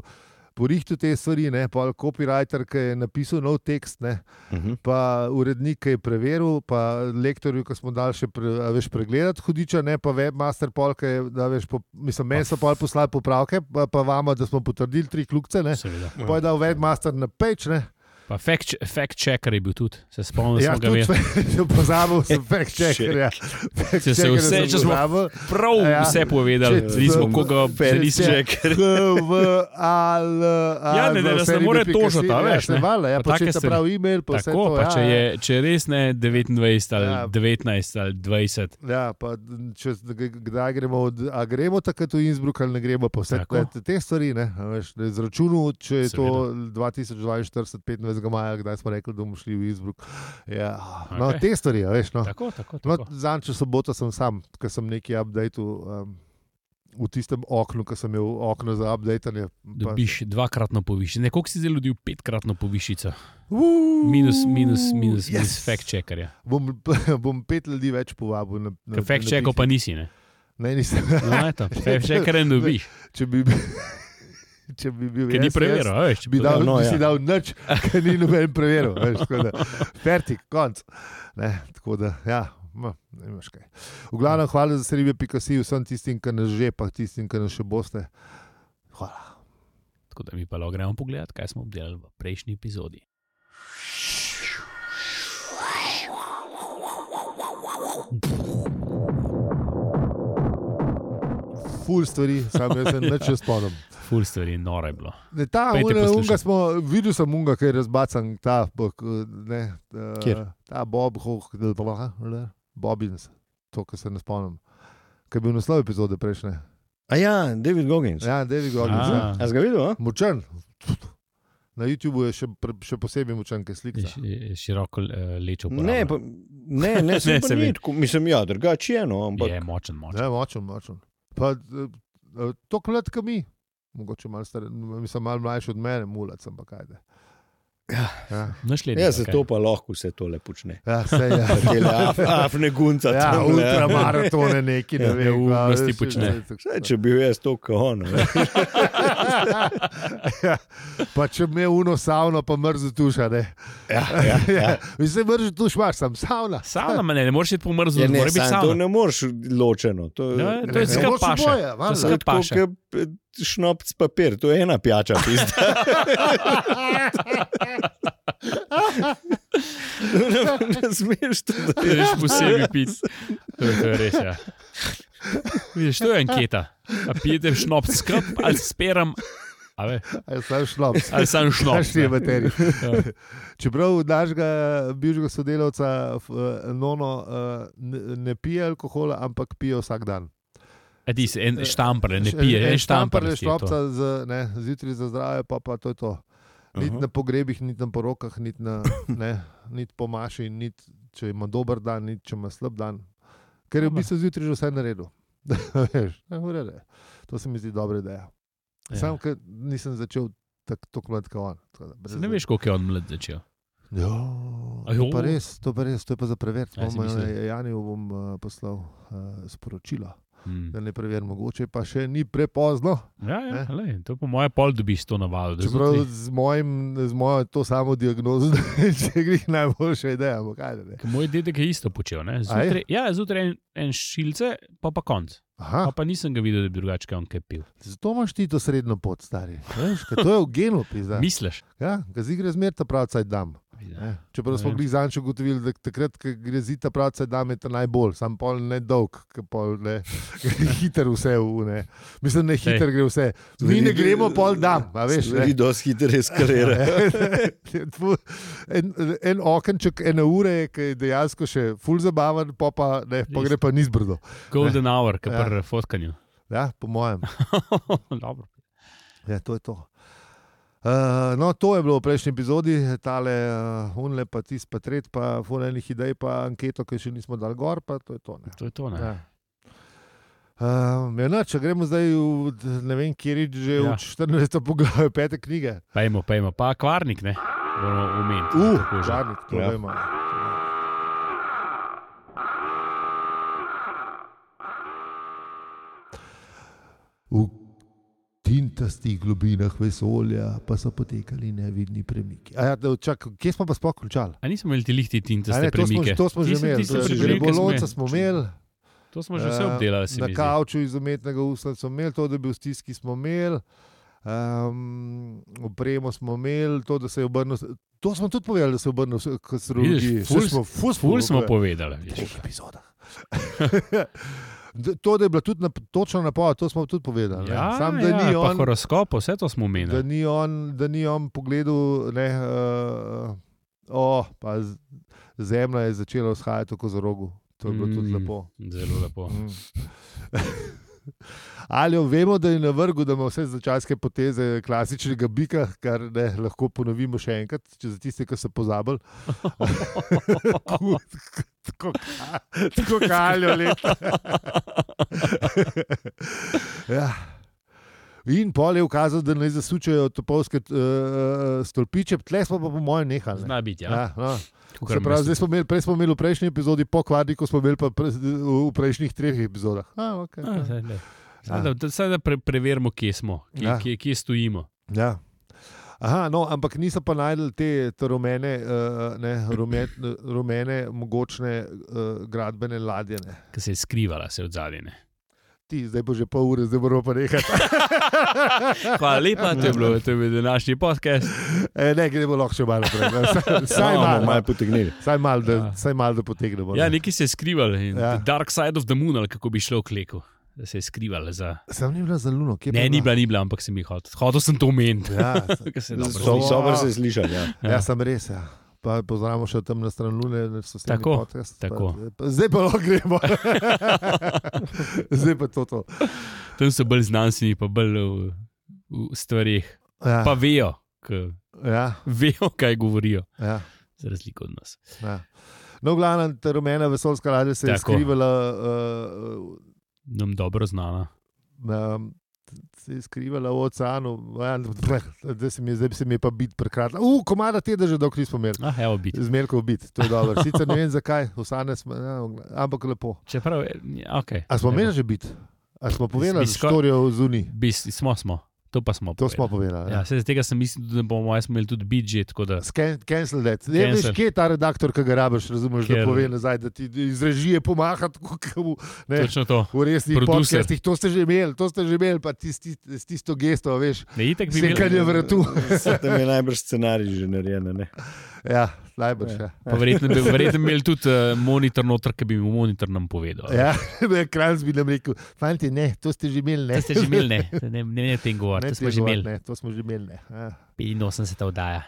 B: porihtu te stvari, ne, pa copywriter, ki je napisal nov tekst, ne,
C: Mhm.
B: pa urednik, ki je preveril, pa lektorju, ki smo dali še pre, a veš, pregledati hudiča, ne pa webmaster pol, ki je, da veš, po, mislim, meni so pol poslali popravke, pa, pa vama, da smo potrdili tri kljukce, ne.
A: Seveda.
B: Pa je dal webmaster na peč, ne.
A: Pa fact, che- fact checker je bil tudi, se spomnim,
B: Ja,
A: ja, ga
B: tudi
A: je.
B: fe- pozabil sem fact checkerja. Fact
A: Če se
B: checkerja
A: vse-
B: sem
A: če smo-
B: pozabil.
A: Prav
B: Ja.
A: ja. vse povedali,
B: Če-
A: nismo koga
B: Fact
A: bili
B: check.
A: se.
B: H, V, A, L, A,
A: Ja, ne, ne,
B: za
A: nas
B: vse
A: ne more
B: ribe, pika
A: tožiti,
B: si,
A: a
B: ja,
A: veš,
B: ne,
A: ne.
B: valjda, ja,
A: Pa
B: pa če
A: take
B: ta
A: stvari.
B: prav e-mail, pa vse
A: Tako,
B: to,
A: pa
B: ja,
A: če,
B: ja.
A: je, če res ne 29 ali
B: Ja.
A: ja. 19 ali 20.
B: Ja, pa če g- kdaj gremo, od, a gremo takrat v Innsbruck ali ne gremo, pa vse
A: Tako.
B: te, te stvari, ne, a veš, na izračunu, če je to
A: Seveda.
B: 2042-25 maja, kdaj smo rekli, da bomo šli v Innsbruck. Ja, no,
A: Okej.
B: te stvari, a veš, no.
A: Tako, tako,
B: No,
A: tako.
B: Zanj, če soboto sem sam, ker sem neki update um, v tistem oknu, ki sem imel okno za updateanje. pa-
A: Dobiš dvakratno povišico. Nekoliko si zelo dobil petkratno povišico.
B: Uuu,
A: Minus, minus, minus, yes. minus
B: yes.
A: fact checkerja.
B: Bom, bom pet ljudi več povabil na, na,
A: Ker
B: na
A: fact checkov pa
B: piknik.
A: nisi. Ne?
B: Ne, nisem.
A: No, eto, fact checker ne dobiš,
B: Če bi, bil- če bi bil
A: ker ni
B: jaz,
A: preveril.
B: jaz,
A: a Veš, če
B: Bi dal,
C: Ja,
B: no,
C: no,
B: bi si
C: ja.
B: dal nič, kar ni noben preveril. veš, tako da, Fertik, konc. Ne, tako da, ja, ma, ne veš kaj. V glavnem, hvala za seribe, pika si vsem tistim, ki nas že, pa tistim, ki nas še boste. Hvala.
A: Tako da mi pa lahko gremo pogledat, kaj smo obdelali v prejšnji epizodi.
B: Ful stvari, sam jaz se nič ne spomnim.
A: Ful stvari, noro je bilo.
B: Ne, ta
A: Pojdite
B: unga,
A: poslušat.
B: unga smo, videl sem unga, ki je razbacan, ta, bo- k- ne, ta-
C: Kjer?
B: ta Bob, hoh, blablabla, Bobbins, to, kar se ne spomnim. Ker je bil naslov epizode prejšnje.
C: A ja, David Goggins. Ja.
B: Ja, David Gordon. ja.
A: A,
C: A si ga videl? a?
B: Močen. Na YouTubu je še, pre- še posebej močen, ki slika.
A: je ši- je Široko eh, lečo.
C: Ne, pa, ne, ne,
A: Ne,
C: ne
A: se
C: se
A: vidi.
C: vidi. Mislim, ja, drugače je, no, ampak
A: je močen, močen.
B: Ja, močen, močen. Pa eh, to klet, kot mi. Mogoče malo, star, mislim, malo mlajši od mene, mulac, ampak kaj da. Ja,
A: Našli
C: ja, zato pa lahko vse tole počne.
B: ja se je.
C: Tele af- Afne gunca.
B: Ja,
C: tamle, a.
B: ultramaratone neki, ne
A: Ja,
B: vem.
A: neumnosti
B: kva, veš,
A: počne.
B: veš, tako-
C: Saj, če bi bil jaz to, kot on. ne.
B: ja, pa če me uno savno, pa mrzlo tuša. Ne?
C: Ja, ja, ja.
B: Mislim, mrzlo tuš imaš, sam savna.
A: Savna me ne, ne moreš iti po mrzlu,
C: Ja,
A: ne,
C: ne,
A: mora biti
C: sam, to
A: savna.
C: ne moreš ločeno. To,
A: Ja, to
B: Ne,
A: je
B: ne,
A: skrat
B: moraš oboje,
A: paše. To je
B: valjda.
C: To je
A: skrat
C: tako,
A: paše.
C: kot šnopc papir, to je ena pijača. pizda. ne ne smeš to
A: Ti greš
C: delati.
A: posebej pit. To je to je res, ja. Vidiš, to je anketa. A pijete šnop skrb ali speram, a ve,
B: Ja, sam šlop.
A: ali sam šnop.
B: Naš je baterij.
A: Ja.
B: Čeprav našega bivšega sodelavca f- eh, Nono eh, ne- ne pije alkohola, ampak pije vsak dan.
A: A ti si en štamper, ne pije, en štamper.
B: štamparle
A: si je to.
B: šnopca z- ne, zjutraj za zdravje, pa, pa to je to. Niti
C: Aha.
B: na pogrebih, niti na porokah, niti nit po maši, niti če ima dober dan, niti če ima slab dan. Ker je v
A: Dobro.
B: bistvu zjutraj že vse naredil. Veš, ne, v redu je. to se mi zdi dobra ideja.
A: Ja.
B: Ja. Sam, ker nisem začel tako tako mlad kot on. tako da brez
A: Saj Ne
B: veze.
A: veš, koliko je on mlad začel.
B: Jo,
A: A
B: Ja, to,
A: jo.
B: pa res, to pa res, to je pa za no, preveriti.
A: Ja, si mislil.
B: Janju bom uh, poslal uh, sporočilo,
A: Hmm.
B: da ne preverim, mogoče pa še ni prepozno.
A: Ja, ja,
B: Ne?
A: lej, to po mojem pol dobiš to navado. da
B: Čeprav
A: zjutraj-
B: z, mojim, z mojo to samo diagnozo, da je grih najboljša ideja. ampak ajde, ne.
A: Ker Moj dedek je isto počel. ne. Zjutraj, ja, zjutraj en, en šilce, pa pa konc.
B: Aha,
A: Pa, pa nisem ga videl, da bi drugače kaj on kaj pil.
B: zato imaš ti to srednjo pot, stari. Veš, ker to je v genu, pizda.
A: Misliš?
B: Ja, ga z igre zmeraj ta pravcaj dam. Ne? Čeprav smo
A: Ja.
B: bili zanj ugotovili, da takrat, ko gre zita pravcaj dam, je to najbolj, sam pol ne dolg, ke pol ne, hiter vse v ne. Mislim, ne hiter gre vse. Mi ne gremo pol dam, a veš. ne. Ja,
C: Stvari dosti hitro eskalira.
B: Tfu, en, en okenček, ena ura je, ki je dejansko še full zabaven, pa, pa, ne, pa gre pa ni zbrdo.
A: Golden hour, ki
B: Ja.
A: pri fotkanju.
B: Ja, po mojem.
A: Dobro.
B: Ja, to je to. Uh, no, to je bilo v prejšnji epizodi, tale uh, unle, pa tisti, pa tret, pa funenih idej, pa anketo, ki še nismo dal gor, pa to je to. Ne.
A: To je to. ne.
B: Ja. Uh, ja, no, če gremo zdaj v d- ne vem, kjer je že ja.
A: Ja.
B: v 14. poglavju, pete knjige.
A: Pejmo, pejmo, pa kvarnik, ne? Bomo omenili.
B: Uh,
A: Tako že.
B: žarnik, to
C: Ja.
B: ja. vemo. V tin, vitastih globinah vesolja pa so potekali nevidni premiki. A Ja, da, čak, kje smo pa sploh končali?
A: A nismo imeli ti lihti
B: A
A: tintaste
B: Ne, to, smo,
A: premike?
B: to smo že
A: Tiste-
B: imeli,
A: tiste
B: to je že
A: premike smo
B: ribolovca
A: imeli.
B: smo imeli.
A: To smo že vse
B: Eh,
A: obdelali, se
B: Na
A: mi zdi.
B: kavču iz umetnega usla smo imeli, to, da bi v stiski smo imeli, um, opremo smo imeli, to, da se je obrnil. To smo tudi povedali, da se je obrnil vse- k astrologiji.
A: Vidiš, ful
B: Vse smo, ful
A: Ful smo povedali.
B: povedali. V
A: vidiš.
B: dveh epizodah. Da- to, da je bila tudi na, točno napoved, to smo tudi povedali. ne.
A: Ja,
B: Sam, da,
A: ja,
B: ni
A: pa
B: on,
A: horoskop, vse to smo
B: da,
A: omenili.
B: ni on, da ni on pogledal, ne, uh, oh, pa z- zemlja je začela vzhajati kot za rogo. To je bilo mm. tudi
A: Mm.
B: lepo.
A: Zelo lepo.
B: Mm. Ali jo vemo, da je na vrhu, da ima vse začaske poteze klasičnega bika, kar ne, lahko ponovimo še enkrat, če za tiste, ki so pozabili. Tako- tako ka- Tako kaljo leto. ja. In pol je ukazal, da naj zasučejo topolske uh, stolpiče, tle smo pa po mojem nehali. ne.
A: Zna biti, ja.
B: Ja, no.
A: Kakor
B: Se pravi,
A: mislim.
B: zdaj smo imeli, prej smo imeli v prejšnji epizodi po kvadriku, smo imeli pa pre, v prejšnjih treh epizodah. A, okay,
A: A,
B: ja.
A: zdaj, glej. Zdaj, da- da- Zdaj, da pre, preverimo, kje smo, kje,
B: Ja.
A: ja. kje, kje stojimo.
B: Ja. Aha, no, ampak niso pa najdel te, te rumene, uh, ne, rume, rumene, mogočne uh, gradbene ladje. Ne.
A: Ki se je skrivala se od zadnje.
B: Ti, zdaj bo že pol ure, zdaj moramo pa nekaj.
A: Hvala lepa, to je bilo, to je bil današnji podcast.
B: E, ne, gremo lahko še malo naprej. ne. Saj- Saj
C: Samo
B: malo,
C: No, malo potegnili.
B: saj malo, da,
A: Ja.
B: saj malo, da potegnemo.
A: Ja,
B: ne.
A: neki se je skrival,
B: Ja.
A: ja. Dark Side of the Moon, ali kako bi šlo v kleku. Da se je skrival za.
B: Sam ni bila za luno, kje pa
A: Ne,
B: je
A: ni bila, ni bila, ampak sem jih hotel. Hotel sem to omeniti.
B: Ja,
A: Ker se dobro
B: so-
C: So,
A: sliši.
C: dobro se sliši. Ja.
B: Ja, sem res. Ja. Pa poznamo še tam na stran Lune, so se
A: Tako,
B: Podcast,
A: tako.
B: Pa, pa, zdaj pa lahko gremo. zdaj pa to. to.
A: Tam so bolj znanstveni, pa bolj v, v stvarih.
B: Ja,
A: Pa vejo, k,
B: ja,
A: vejo, kaj govorijo,
B: ja,
A: za razliko od nas.
B: ja. No, glavno, ta rumena vesoljska ladja se je
A: Tako.
B: skrivala. Uh,
A: Nam dobro znana.
B: um, Se je skrivala v oceanu, Ja, zdaj se mi je, zdaj se mi je pa biti prekratila. Uf, komada tega že dolgo nismo imeli,
A: Ah, evo, biti.
B: zmerkov biti, to je dobro. Sicer ne vem zakaj, osane smo, ja, ampak lepo.
A: Čeprav, eh, okay,
B: A smo imeli že biti? A smo povedali, da
A: Mislim,
B: storijo zunaj?
A: Bis, smo, smo, to pa smo.
B: To smo povedali.
A: Ja,
B: Ja.
A: se, tega sem mislil, da bomo jaz imeli tudi bidži, tako da
B: Scan- Cancel that. Ne veš,
A: Ja. Cancel.
B: kje je ta redaktor, ki ga rabiš, razumeš, Ker... da
A: Ker-
B: pove nazaj, da ti iz režije pomaha, tako kot v, ne,
A: točno to.
B: v resnih
A: Producer.
B: podcestih. To ste že imeli, to ste že imeli, pa tisti- s tisto gesto, veš,
A: Ne, itek bi imeli, ja.
B: sekanje vrtu.
C: Saj Tam je najbrž scenarij že narejen. a ne?
B: Ja, najbrž. Ja.
A: pa verjetno bi verjetno imeli tudi uh, monitor noter, ki bi mu monitor nam povedal.
B: Ja, na kraj bi nam rekel, fanti, ne, to ste že imeli, ne.
A: To ste že imeli, ne, ne, ne, ne, ne tem govoriti,
B: Ne,
A: to smo že
B: težko,
A: imeli.
B: ne, to smo že imeli. Ne. Ja,
A: 85 oddaja.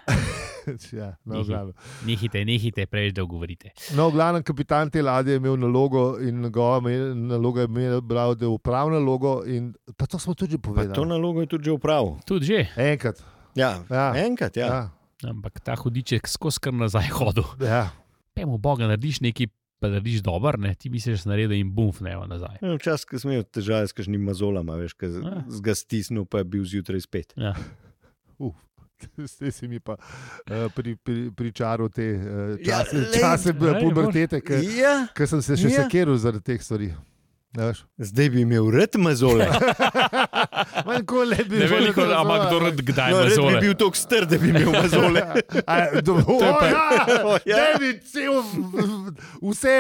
B: ja, no,
A: Nihil.
B: žal.
A: Nehite, nehite, preveč dolgo govorite.
B: No, glavno kapitan te ladje je imel nalogo in njegova me- naloga je imela- bila, da je upravil nalogo. In, pa to smo tudi že
C: Pa to
B: povedali.
C: nalogo je tudi že upravil.
A: Tudi že,
B: Enkrat.
C: Ja,
B: Ja.
C: enkrat, ja.
B: Ja,
A: ampak ta hudiček skozi kar nazaj hodil.
B: ja.
A: Pejmo Boga, narediš nekaj, pa narediš dober, ne, ti misliš, da si naredil in bum, ne, nazaj.
C: Ja, Včasih ko sem imel težave s kakšnimi mazolami, veš, ki
A: Ja.
C: z ga stisnil, pa je bil zjutraj spet.
A: Ja.
B: Zdaj si mi pa uh, pri, pri, pričaral te uh,
C: Ja,
B: čase, ja,
C: lej,
B: čase
A: lej,
B: pubertete, ker
C: Ja,
B: ker sem se še
C: Ja.
B: sekiral zaradi teh stvari. Ne veš?
C: zdaj bi imel red mazole.
B: Manjko le bi
A: Ne
B: bilo,
A: veliko,
B: da
A: ampak
B: razumem.
A: kdo red, kdaj
C: No,
A: ima
C: red
A: zole.
C: bi bil tako star, da bi imel mazole.
B: Ja. A, Dovolj,
C: je pa-
B: ja,
C: O, ja.
B: da bi cel, vse.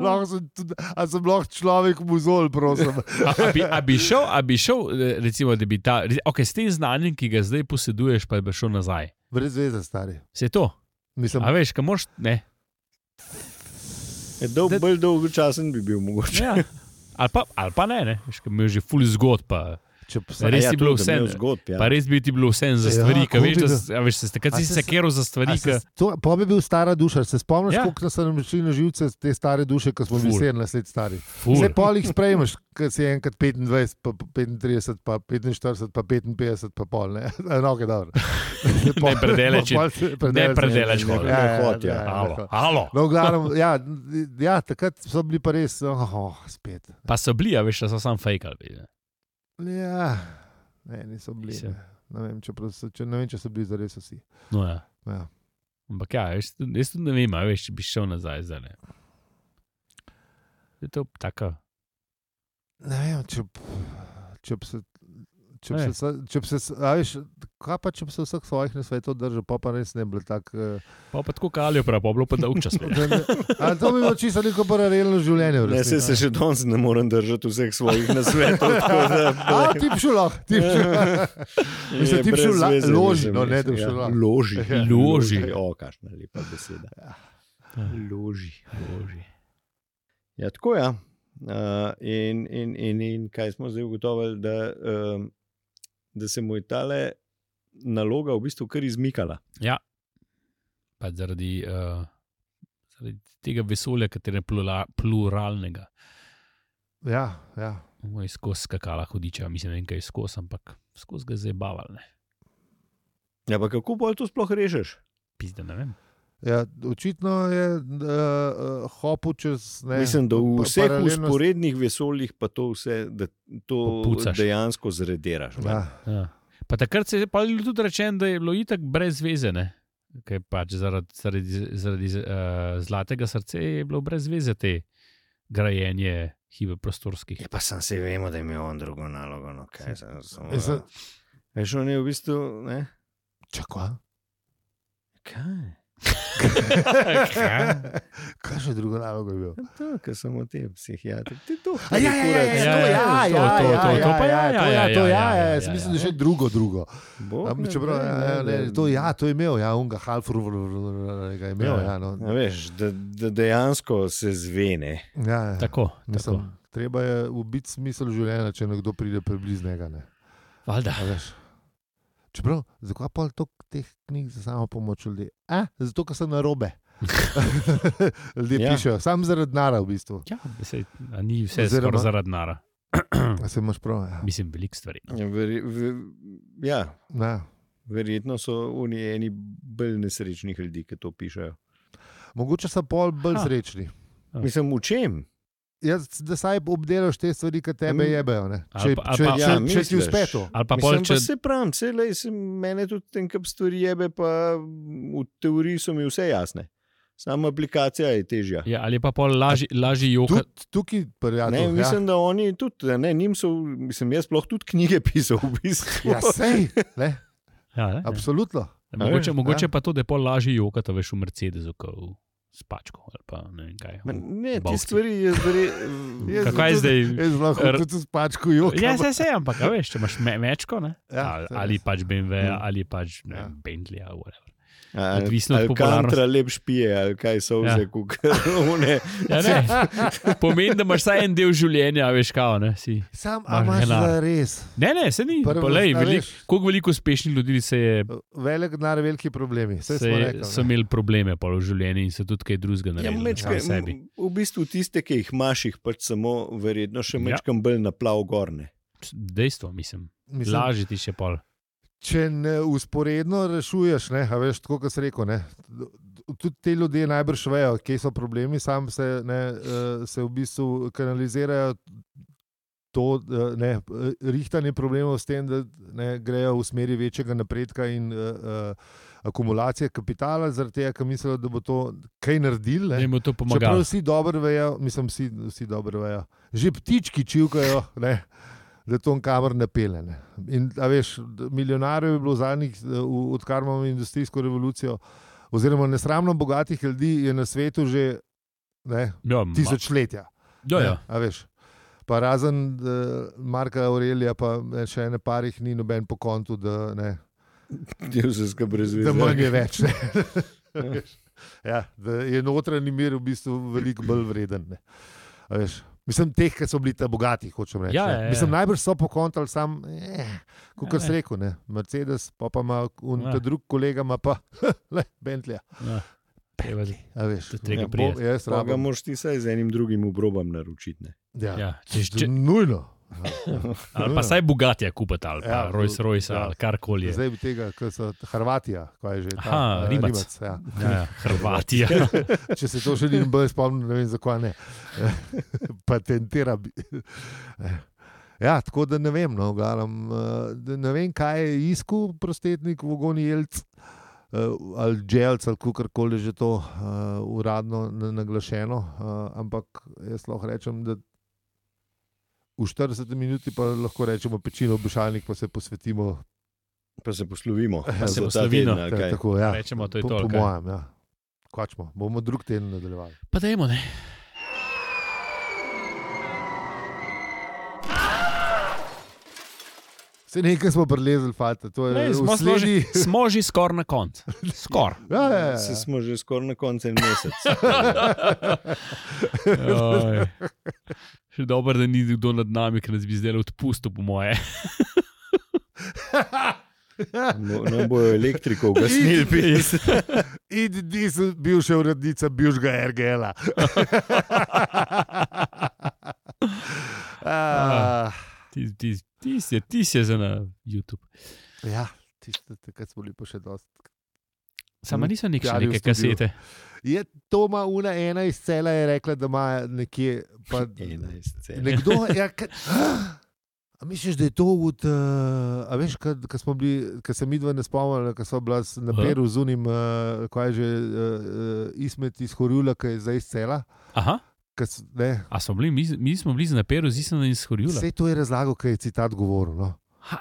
B: Lahko sem tudi- A sem lahko človek v muzol, prosim.
A: A, a, bi, a, bi šel, a bi šel, eh, recimo, da bi ta, okay, s tem znanjem, ki ga zdaj poseduješ, pa bi šel nazaj.
B: Brez veze, stari.
A: Se to,
B: Mislim,
A: a veš, kam moš, ne.
C: Ja, Dol,
A: Da-
C: bolj dolgočasen bi bil mogoče.
A: Ja. Ali pa, ali pa ne, ne. Veš, ker imaš že ful zgodb. Pa,
B: če
A: A
B: psa,
A: res
C: Ja,
A: je
C: to,
A: bilo
C: da bi
A: vse,
C: imel
A: ne.
C: Zgodb, ja.
A: pa res bi ti bilo vse za stvari,
B: Ja,
A: ki veš,
B: kako bi
A: da,
B: bilo?
A: s- a veš, se takrat
B: A
A: si
B: se-
A: sekiral za
B: A
A: stvari, ki
B: se s- To, pa bi bil stara duša, se spomniš,
A: Ja.
B: ja. koliko so nam šli na živce te stare duše, ko smo bili
A: Ful.
B: 17 let stari.
A: ful.
B: Vse polih sprejmeš, ko si enkrat 25, pa 35, pa 45, pa 55, pa pol. Ne, no, okay, dobro.
A: Ne predeleč je- Ne predelaš
C: ne,
A: hod.
C: ne. hod, ja,
A: Alo, alo.
B: No, v glavnem, ja, n- ja, takrat so bili pa res, oh, spet.
A: Pa so bili, a veš, da so sam fejkali. bili, ne.
B: Ja, ne, niso bili.
A: Mislim.
B: Ne. Ne vem, če, prav so- če, ne vem, če so bili zares vsi.
A: No, ja.
B: Ja.
A: Ampak ja, veš, tudi- jaz tudi ne vem, a veš, če bi šel nazaj zdaj. Ne. Je to tako.
B: Ne vem, če, če bi se. Če bi se, sa- če bi se, s- a veš, kaj pa če bi se vseh svojih na svetu držal, pa pa res ne bi bil tak. eh,
A: Pa, pa tako kalijo, prav, pa bilo pa dolg čas.
B: da ne- A to bi bilo čisto neko paralelno življenje. v
C: Ne,
B: resnici.
C: se, se še danes ne morem držati vseh svojih nasvetov. tako da,
B: A, ti bi šel lahko, ti bi šel. Mislim,
C: je
B: ti bi
C: brez
B: šel la-
C: veze,
B: loži,
C: mislim,
B: no, ne,
C: res,
B: da bi
C: ja.
B: šel lahko.
C: Loži.
A: Loži.
C: O, kakšna lepa beseda. Loži, loži. Ja, tako je. Ja. Uh, in, in, in, in kaj smo zdaj ugotovili, da, um, da se mu je ta naloga v bistvu kar izmikala.
A: Pa zaradi, uh, zaradi tega vesolja, katere plura, pluralnega,
B: Ja, ja.
A: mu je skozi skakala hudiča, mislim, ne vem, kaj je skozi, ampak skozi ga je zabaval.
C: Ja, pa kako bolj to sploh rešiš?
A: Pizda, ne vem.
B: Ja, očitno je uh, uh, hopu čez ne.
C: Ne, Mislim, da v
B: pa-
C: vseh
B: paralelnost-
C: usporednih vesoljih pa to vse, da to
A: Popucaš.
C: dejansko zrediraš. ne.
B: Ja,
A: Ja. Pa takrat se je pa je bilo tudi rečeno, da je bilo itak brez vezene. Ker pač zaradi, zaradi, zaradi uh, zlatega srca je bilo brez veze te grajenje hibe prostorskih.
C: Ja, pa sem se vemo, da je imel on drugo nalogo. No, kaj, sem, samo,
B: Jaz sem-
C: Veš, on je v bistvu. Ne?
B: Čakaj.
C: Kaj?
B: Kaj še drugo nalogo je bilo?
C: No, To, kar samo te psihiatre. Ti to.
B: A ja, ja, ja, ja, to, ja,
A: to,
B: ja,
A: to,
B: ja,
A: to, to
B: ja,
A: pa ja,
B: ja, to, ja,
A: ja,
B: to,
A: ja,
B: ja,
A: ja,
B: ja,
A: ja,
B: jaz
A: ja.
B: mislim, da še drugo, drugo.
C: Bog,
B: Am, čeprav, ja, ja, ne, to, ja, to je imel, ja, unga Halfurga je imel, ja, no.
C: Ja, veš, da, da dejansko se zvene.
B: Ja, ja.
A: Tako, tako.
B: Mislim, treba je ubiti smisel življenja, če nekdo pride preblizu njega. Ne.
A: Valjda.
B: A veš. Čeprav, zakaj pa toliko teh knjig za samo pomoč ljudi? A? Zato, ker so na robe. Ljudje
C: Ja.
B: ja. pišejo, sam zaradi nara v bistvu.
A: Ja, sej, ni vse
B: Oziroma-
A: Oziroma... zaradi nara. Hm.
B: A se imaš prav. Ja.
A: Mislim, veliko stvari. No.
C: Veri, ver, ja,
B: Ja.
C: verjetno so oni eni bolj nesrečnih ljudi, ki to pišajo.
B: Mogoče so pol bolj
A: Ha.
B: srečni.
C: Mislim, v čem?
B: Jaz, da saj obdelaš te stvari, ki tebe
C: Mm.
B: jebejo. ne.
A: Ali
B: Če,
A: pa- ali
B: če,
A: pa-
B: če,
C: Ja,
B: če ti
C: misliš.
B: uspe to.
A: Ali pa pol,
C: Mislim,
A: če
C: pa se pravim, se, lej, se mene tudi ten kup stvari jebe, pa v teoriji so mi vse jasne. Samo aplikacija je težja.
A: Ja, ali je pa pol lažji, lažji joka.
B: Tud- Tukaj, prijatelj,
C: Ne,
B: ja.
C: mislim, da oni tudi, da ne, njim so, mislim, jaz sploh tudi knjige pisal v bistvu.
B: Ja, sej, ne,
A: Ja, ne, ne.
B: absolutno.
A: mogoče
B: Ja.
A: mogoče pa to, da je pol lažji joka, to veš v Mercedesu, kot v Spačku. ali Pa, ne, vem kaj, v
C: Ma Ne, te
A: Bovcu.
C: stvari jaz verje.
B: Jaz
A: Kako je
B: tudi-
A: zdaj?
B: Jaz lahko
A: R-
B: tudi spačku jok.
A: Ja, se se, ampak a veš, če imaš me, mečko, ne?
B: Ja,
A: ali,
B: saj
A: ali
B: res.
A: pač BMW,
C: Ja.
A: ali pač ne,
B: Ja.
A: ja. Bentley, ali whatever. odvisno
C: Odvisno
A: od
C: od tega,
A: popularnosti.
C: kako lep špije, ali kaj so vse,
A: Ja.
C: kako ne.
A: Ja, ne, pomeni, da imaš vsaj en del življenja, a veš, kao. Ne, si.
B: Sam, a
A: Imaš
B: imaš
A: denar.
B: za res.
A: ne, ne se ni.
B: Prvo,
A: Polej,
B: a
A: velik,
B: veš.
A: koliko veliko uspešnih ljudi se je.
B: Velik denar, veliki problemi. Vse
A: Se,
B: smo rekli.
A: so
B: ne.
A: imeli probleme pol v življenju in so tudi kaj drugega
C: Ja,
A: naredili.
C: mečka,
A: sami sebi.
C: v bistvu tiste, ki jih imaš, jih pač samo, verjetno, še
A: Ja.
C: mečkam bolj naplav gorne.
A: Dejstvo, mislim. mislim.
B: Mislim,
A: Lažje ti še pol.
B: Če ne usporedno rešuješ, ne, a veš, tako kot si rekel, ne, tudi te ljudje najbrž vejo, kje so problemi, sam se, ne, eh, se v bistvu kanalizirajo to eh, ne, eh, rihtanje problemov s tem, da ne, grejo v smeri večjega napredka in eh, eh, akumulacije kapitala, zaradi tega, ker mislijo, da bo to kaj naredil.
A: Ne
B: Ne.
A: mu to
B: Čeprav
A: pomagalo.
B: vsi dobro vejo, mislim, vsi, vsi dobro vejo. Že ptički čivkajo, ne, da to kamor napeljene. In a veš, d- milijonarjev je bilo zadnjih, eh, v- odkar imamo industrijsko revolucijo, oziroma nesramno bogatih ljudi je na svetu že ne,
A: Ja, ma-
B: tisočletja.
A: ja, ja.
B: Ne, a veš. Pa razen uh, Marka Aurelija, pa eh, še ene parih ni noben po kontu, da, ne,
C: Je vse skupaj brez
B: da manj
C: veze.
B: je več. Ne. Veš. ja, da je notranji mir v bistvu veliko bolj vreden. ne. A veš, Mislim, teh, ki so bili ta bogati, hočem reči.
A: Ja,
B: ne.
A: ja, ja.
B: Mislim, najbrž so pokontali sam, eh, kot
A: Ja,
B: sem rekel, ne. Mercedes, pa pa ima un,
A: Ja.
B: ta drug kolega, ima pa le Bentley.
A: Ja. Treba z- Do tega pride.
B: ja, Jaz
C: Pa ga
B: rabim.
C: moraš ti saj z enim drugim obrobam naročiti. ne.
B: Ja. Ja.
A: Ja. Če, če,
B: Nujno.
A: ali pa saj bogatja kupiti, ali
B: Ja,
A: pa Rolls Royce,
B: ja.
A: ali karkoli. je.
B: Zdaj bi tega, kar so Hrvatija, kaj je že ta,
A: Aha,
B: eh,
A: Rimac.
B: ja.
A: Ja, ja. Hrvatija.
B: Če se to še ni bolj spomnil, ne vem zakaj ne. Patentira. bi. Ja, tako da ne vem, no, glavnem, eh, ne vem, kaj je iskal prostetnik v Goni Jelc. eh, Ali želc, ali kako koli že to uh, eh, uradno na- naglašeno, uh, ampak jaz lahko rečem, da v 40 minuti pa lahko rečemo pečino obešalnik, pa se posvetimo.
C: Pa se poslovimo,
B: Ja,
C: pa
A: se
C: se
A: poslovimo.
C: poslovimo.
B: Okay. Tako, ja.
A: Rečemo, to je
B: po,
A: to, ali
B: Po
A: kaj?
B: mojem, ja. Kočmo, bomo drug teden nadaljevali.
A: Pa dajmo, ne.
B: Se nekaj smo prelezili, fanta, to je
A: Ne, smo, smo, že,
B: sledi.
A: smo že skoraj na koncu. Skor.
B: Ja, ja, ja.
C: Se smo že skoraj na koncu en mesec.
A: Joj. Še dobro, da ni kdo nad nami, ki nas bi zdaj odpustil, po moje.
C: No, Nam bojo elektriko ugasnili.
B: Idi, nisem bil še urednica bivšega RGL-a. Ah,
A: Ti, ti, ti, si, ti si za na YouTube.
B: ja, tisto, kar smo bili pa še dosti.
A: Sama niso nek še
B: Jari v
A: neke
B: studiu.
A: kasete.
B: Je Toma Una, ena iz cela je rekla, da ima nekje. Pa,
C: 11 cel.
B: nekdo, ja, kaj, a misliš, da je to od. Uh, a veš, kaj smo bili, kaj sem midva ne spomnila, kaj smo bila s- na
A: Ja.
B: peru z unim, uh, kaj je že uh, uh, Ismet iz Horjula, ki je zdaj iz cela.
A: Aha,
B: Kaj s- ne.
A: a smo bili, mi, mi smo bili na Peru, zdaj sem na izhorjula.
B: Vse to je razlagal, kaj je citat govoril. No.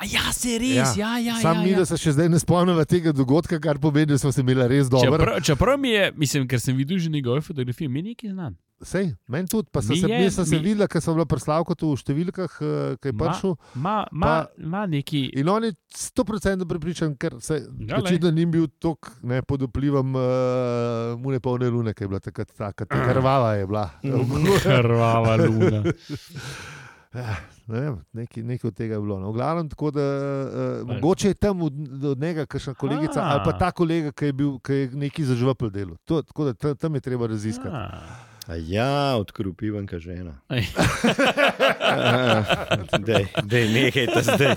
A: Ja, se res, ja, ja. ja,
B: Sam mi,
A: ja,
B: da se še zdaj ne spomnimo tega dogodka, kar pomeni, da smo se imeli res dobro.
A: Čeprav, čeprav mi je, mislim, ker sem videl že njegove fotografije, mi je nekaj znan.
B: Sej, meni tudi, pa sem
A: Mi
B: se,
A: je-
B: mi sem se
A: mi-
B: videla, ker sem bila prslavka tu v številkah, eh, ki je
A: Ma-
B: prišel.
A: Ma, ma, ma neki.
B: In on je 100% prepričan, ker se
A: Ja, lej.
B: očitno ni bil tok ne, pod vplivom uh, mune polne lune, ki je bila takrat taka, ta krvava je bila.
A: Krvava luna.
B: Ne vem, nekaj, nekaj od tega je bilo. No, v glavnem, tako da, uh, mogoče je tam od, od njega kakšna kolegica
A: A.
B: ali pa ta kolega, ki je, bil, ki je neki zažvepl delo. To, tako da tam, tam je treba raziskati.
A: Ah.
C: A Ja, odkrupi vanka žena.
A: Ej.
C: Da, nehajte zdaj.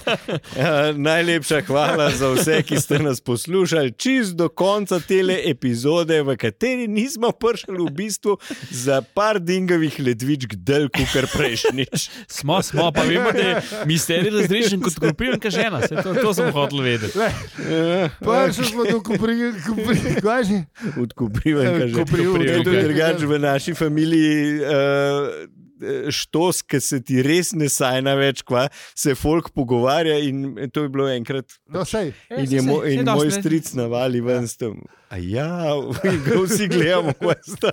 C: A, Najlepša hvala za vse, ki ste nas poslušali čist do konca tele epizode, v kateri nismo prišli v bistvu za par dingovih ledvičk del, kot prejšnjič.
A: Smo, smo, pa vemo, da je misterij razrešen kot grupiranka žena. Se, to, to sem hotel vedeti.
C: Eh,
B: Pa ja, še smo tu kupili, kupili, kaj že?
C: Odkupivanka že.
B: Koprivanka.
C: Je tudi drugače v naši familiji. Uh, Štos, ki se ti res ne sajna več, kva, se folk pogovarja. In to je bilo enkrat
B: No, sej.
C: In, je, mo, in moj stric navali ven s tem. A ja, in ga vsi gledamo, kaj sta.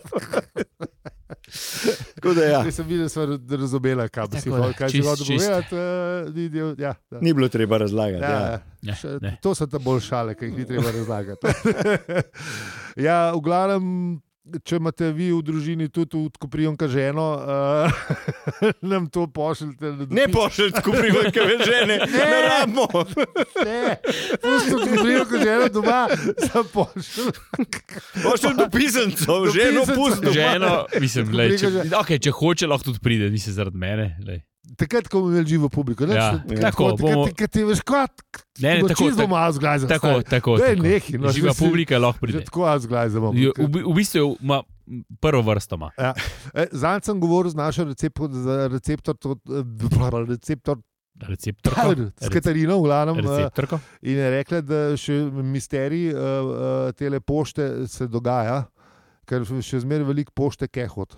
C: Tako da ja,
B: Nisem videl, da sem razumela, kaj bi si
A: Tako da,
B: hotel, kaj si
A: čist,
B: hotel
A: čist.
B: povedati. eh, ni del- Ja, da.
C: ni bilo treba razlagati.
B: Ja,
C: Ja.
B: ja.
A: Ne,
B: Še-
A: ne.
B: To so te bolj šale, ki jih ni treba razlagati. ja, v glavnem, če imate vi v družini tudi odkoprijunka ženo, uh, nam to pošljite.
C: Ne pošljite, ko private žene, ne rabimo.
B: ne, pusti odkoprijunka ženo doma, za pošlj.
C: Pošljite do pisancev, ženo
B: pisancev.
C: pusti.
A: Ženo, mislim, lej, če,
B: Grupiranka
A: okay, če hoče, lahko tudi pride, ni se zaradi mene. Lej.
B: Takrat, ko bomo imeli živo publiko, ne,
A: Ja,
B: takrat,
A: tako,
B: ko-
A: bomo-
B: takrat, takrat je veš, kot
A: Ne, ne, tako,
B: zelo
A: tako,
B: malo zglajza.
A: tako, tako,
B: Daj,
A: tako.
B: nehaj, no,
A: Živa
B: že si-
A: publika lahko pride.
B: Že tako jaz zglajzamo.
A: Jo, V, bi- v bistvu ima prvo vrsto. Ima.
B: Eh, Zanj sem govoril z našo receptor, za receptor, to, eh, receptor
A: Receptorko.
B: Pravno, Ja, s Katarino, v glavnem. eh,
A: Receptorko.
B: In je rekla, da še misterij te pošte se dogaja, ker še zmeraj veliko pošte kehot.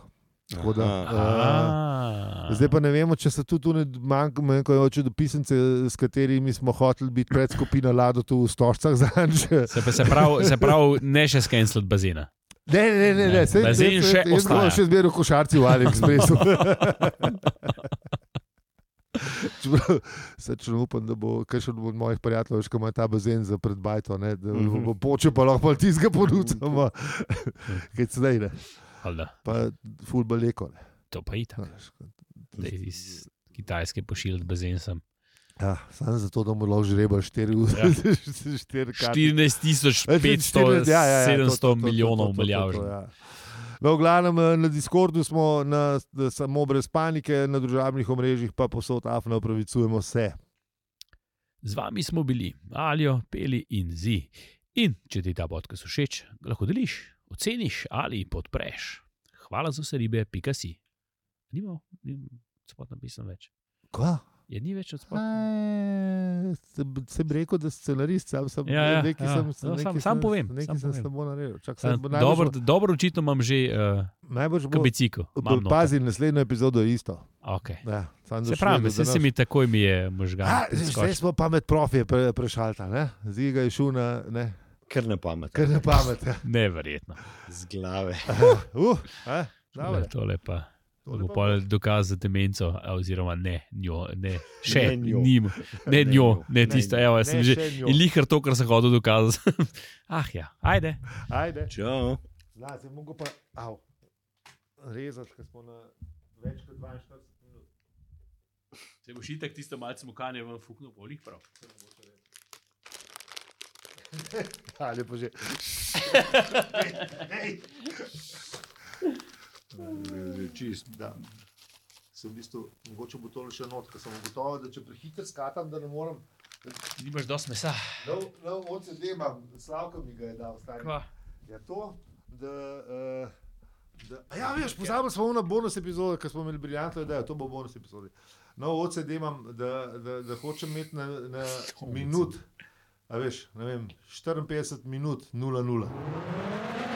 B: Tako da, eh,
A: A.
B: Zdaj pa ne vemo, če se tudi tu ne manjkajo dopisnice, s katerimi smo hoteli biti pred skupino Lado tu v Stožcah za Anže.
A: Se, pa- se pravi, se pravi, ne še skenslot bazena.
B: Ne, ne, ne, ne, saj-
A: Bazen
B: saj- saj-
A: še
B: jaz
A: ostaja.
B: bom še zmeraj v košarci v AliExpressu. Čeprav, Saj če upam, da bo kakšen od mojih prijateljev, ki ima ta bazen za predbajto, ne, da
C: Mhm.
B: bo počel, pa lahko malo tizga ponudimo, kaj se zdaj ne,
A: Alda,
B: pa fulba leko. Ne.
A: to pa je tako. Zdaj Iz Kitajske pošiljati bazen sem.
B: Ja, samo zato, da mu lahko žreba 4 ure, 4 karte.
A: 14 tisoč
B: Ja, tudi
A: 500,
B: 40, ja, ja, ja, to,
A: 700
B: to, to, to, to, to, to, to,
A: milijonov
B: to,
A: uveljavljenih.
B: ja. No, v glavnem eh, na Discordu smo na, na, samo brez panike, na družabnih omrežjih pa posod afna upravičujemo se.
A: Z vami smo bili Aljo, Peli in Zi. In če ti ta podcast všeč, ga lahko deliš, oceniš ali podpreš. Hvala za vse ribe, pika si. Nimamo, nimam, spod napisam več.
B: Kva?
A: Je ni več od spodaj.
B: Eh, sem- Sem rekel, da scenarist, sam sem
A: Ja, ja,
B: nekaj
A: ja.
B: sem
A: No,
B: nekaj
A: sam-
B: sem-
A: sam povem,
B: Nekaj
A: sam
B: sem
A: povem.
B: slabo naredil. Čak,
A: Sam,
B: sem, bo- najbrž
A: dobro,
B: bo-
A: dobro, očitno imam že uh,
B: Najbrž bo.
A: bicikl.
B: bo- Pazi, naslednjo epizodo je isto.
A: Okay.
B: Ja, samo da
A: Se
B: še vedno,
A: pravi,
B: da
A: se, se
B: naš-
A: mi Ja, takoj mi je možgan.
B: A, zdaj- Zdaj
A: preskočil.
B: smo pa med profi pre, prešalta, ne? ziga je šel na, ne,
C: Ker ne pamet,
B: kar na pamet. ja.
A: Neverjetno.
C: z glave.
B: Uh, a, dobro.
A: Tole, tole pa.
B: Tole
A: Bo
B: pa
A: pa dokaz za demenco, a oziroma ne, njo, ne,
C: Ne
A: še
C: njo.
A: njim, ne
C: Ne
A: njo,
C: njo.
A: ne
B: Ne
A: tisto,
B: njo.
A: evo, jaz sem
B: Ne
A: že.
B: še njo.
A: In lihar to, kar sem hodil dokazati. ah ja, ajde.
B: Ajde,
C: Čau.
B: zlaze, mogo pa au, rezati, ker smo na več kot 42 minut.
A: Se boš itak tisto malce mukanje v fuknu, polih prav.
B: Ali pa že. Čist. Da. Sem v bistvu, mogoče bo to le še not, ker sem ugotovil, da če prehiter skatam, da ne morem.
A: Nimaš dosti mesa.
B: Nov, nov OCD imam, Slavko mi ga je dal, stari.
A: Kva.
B: Ja, to, da, uh, da, a ja, veš, pozabil smo na bonus epizodo, ker smo imeli briljantno idejo, to bo bonus epizoda. No, OCD imam, da, da, da hočem imeti na, na minut, a veš, ne vem, 54 minut, 0-0.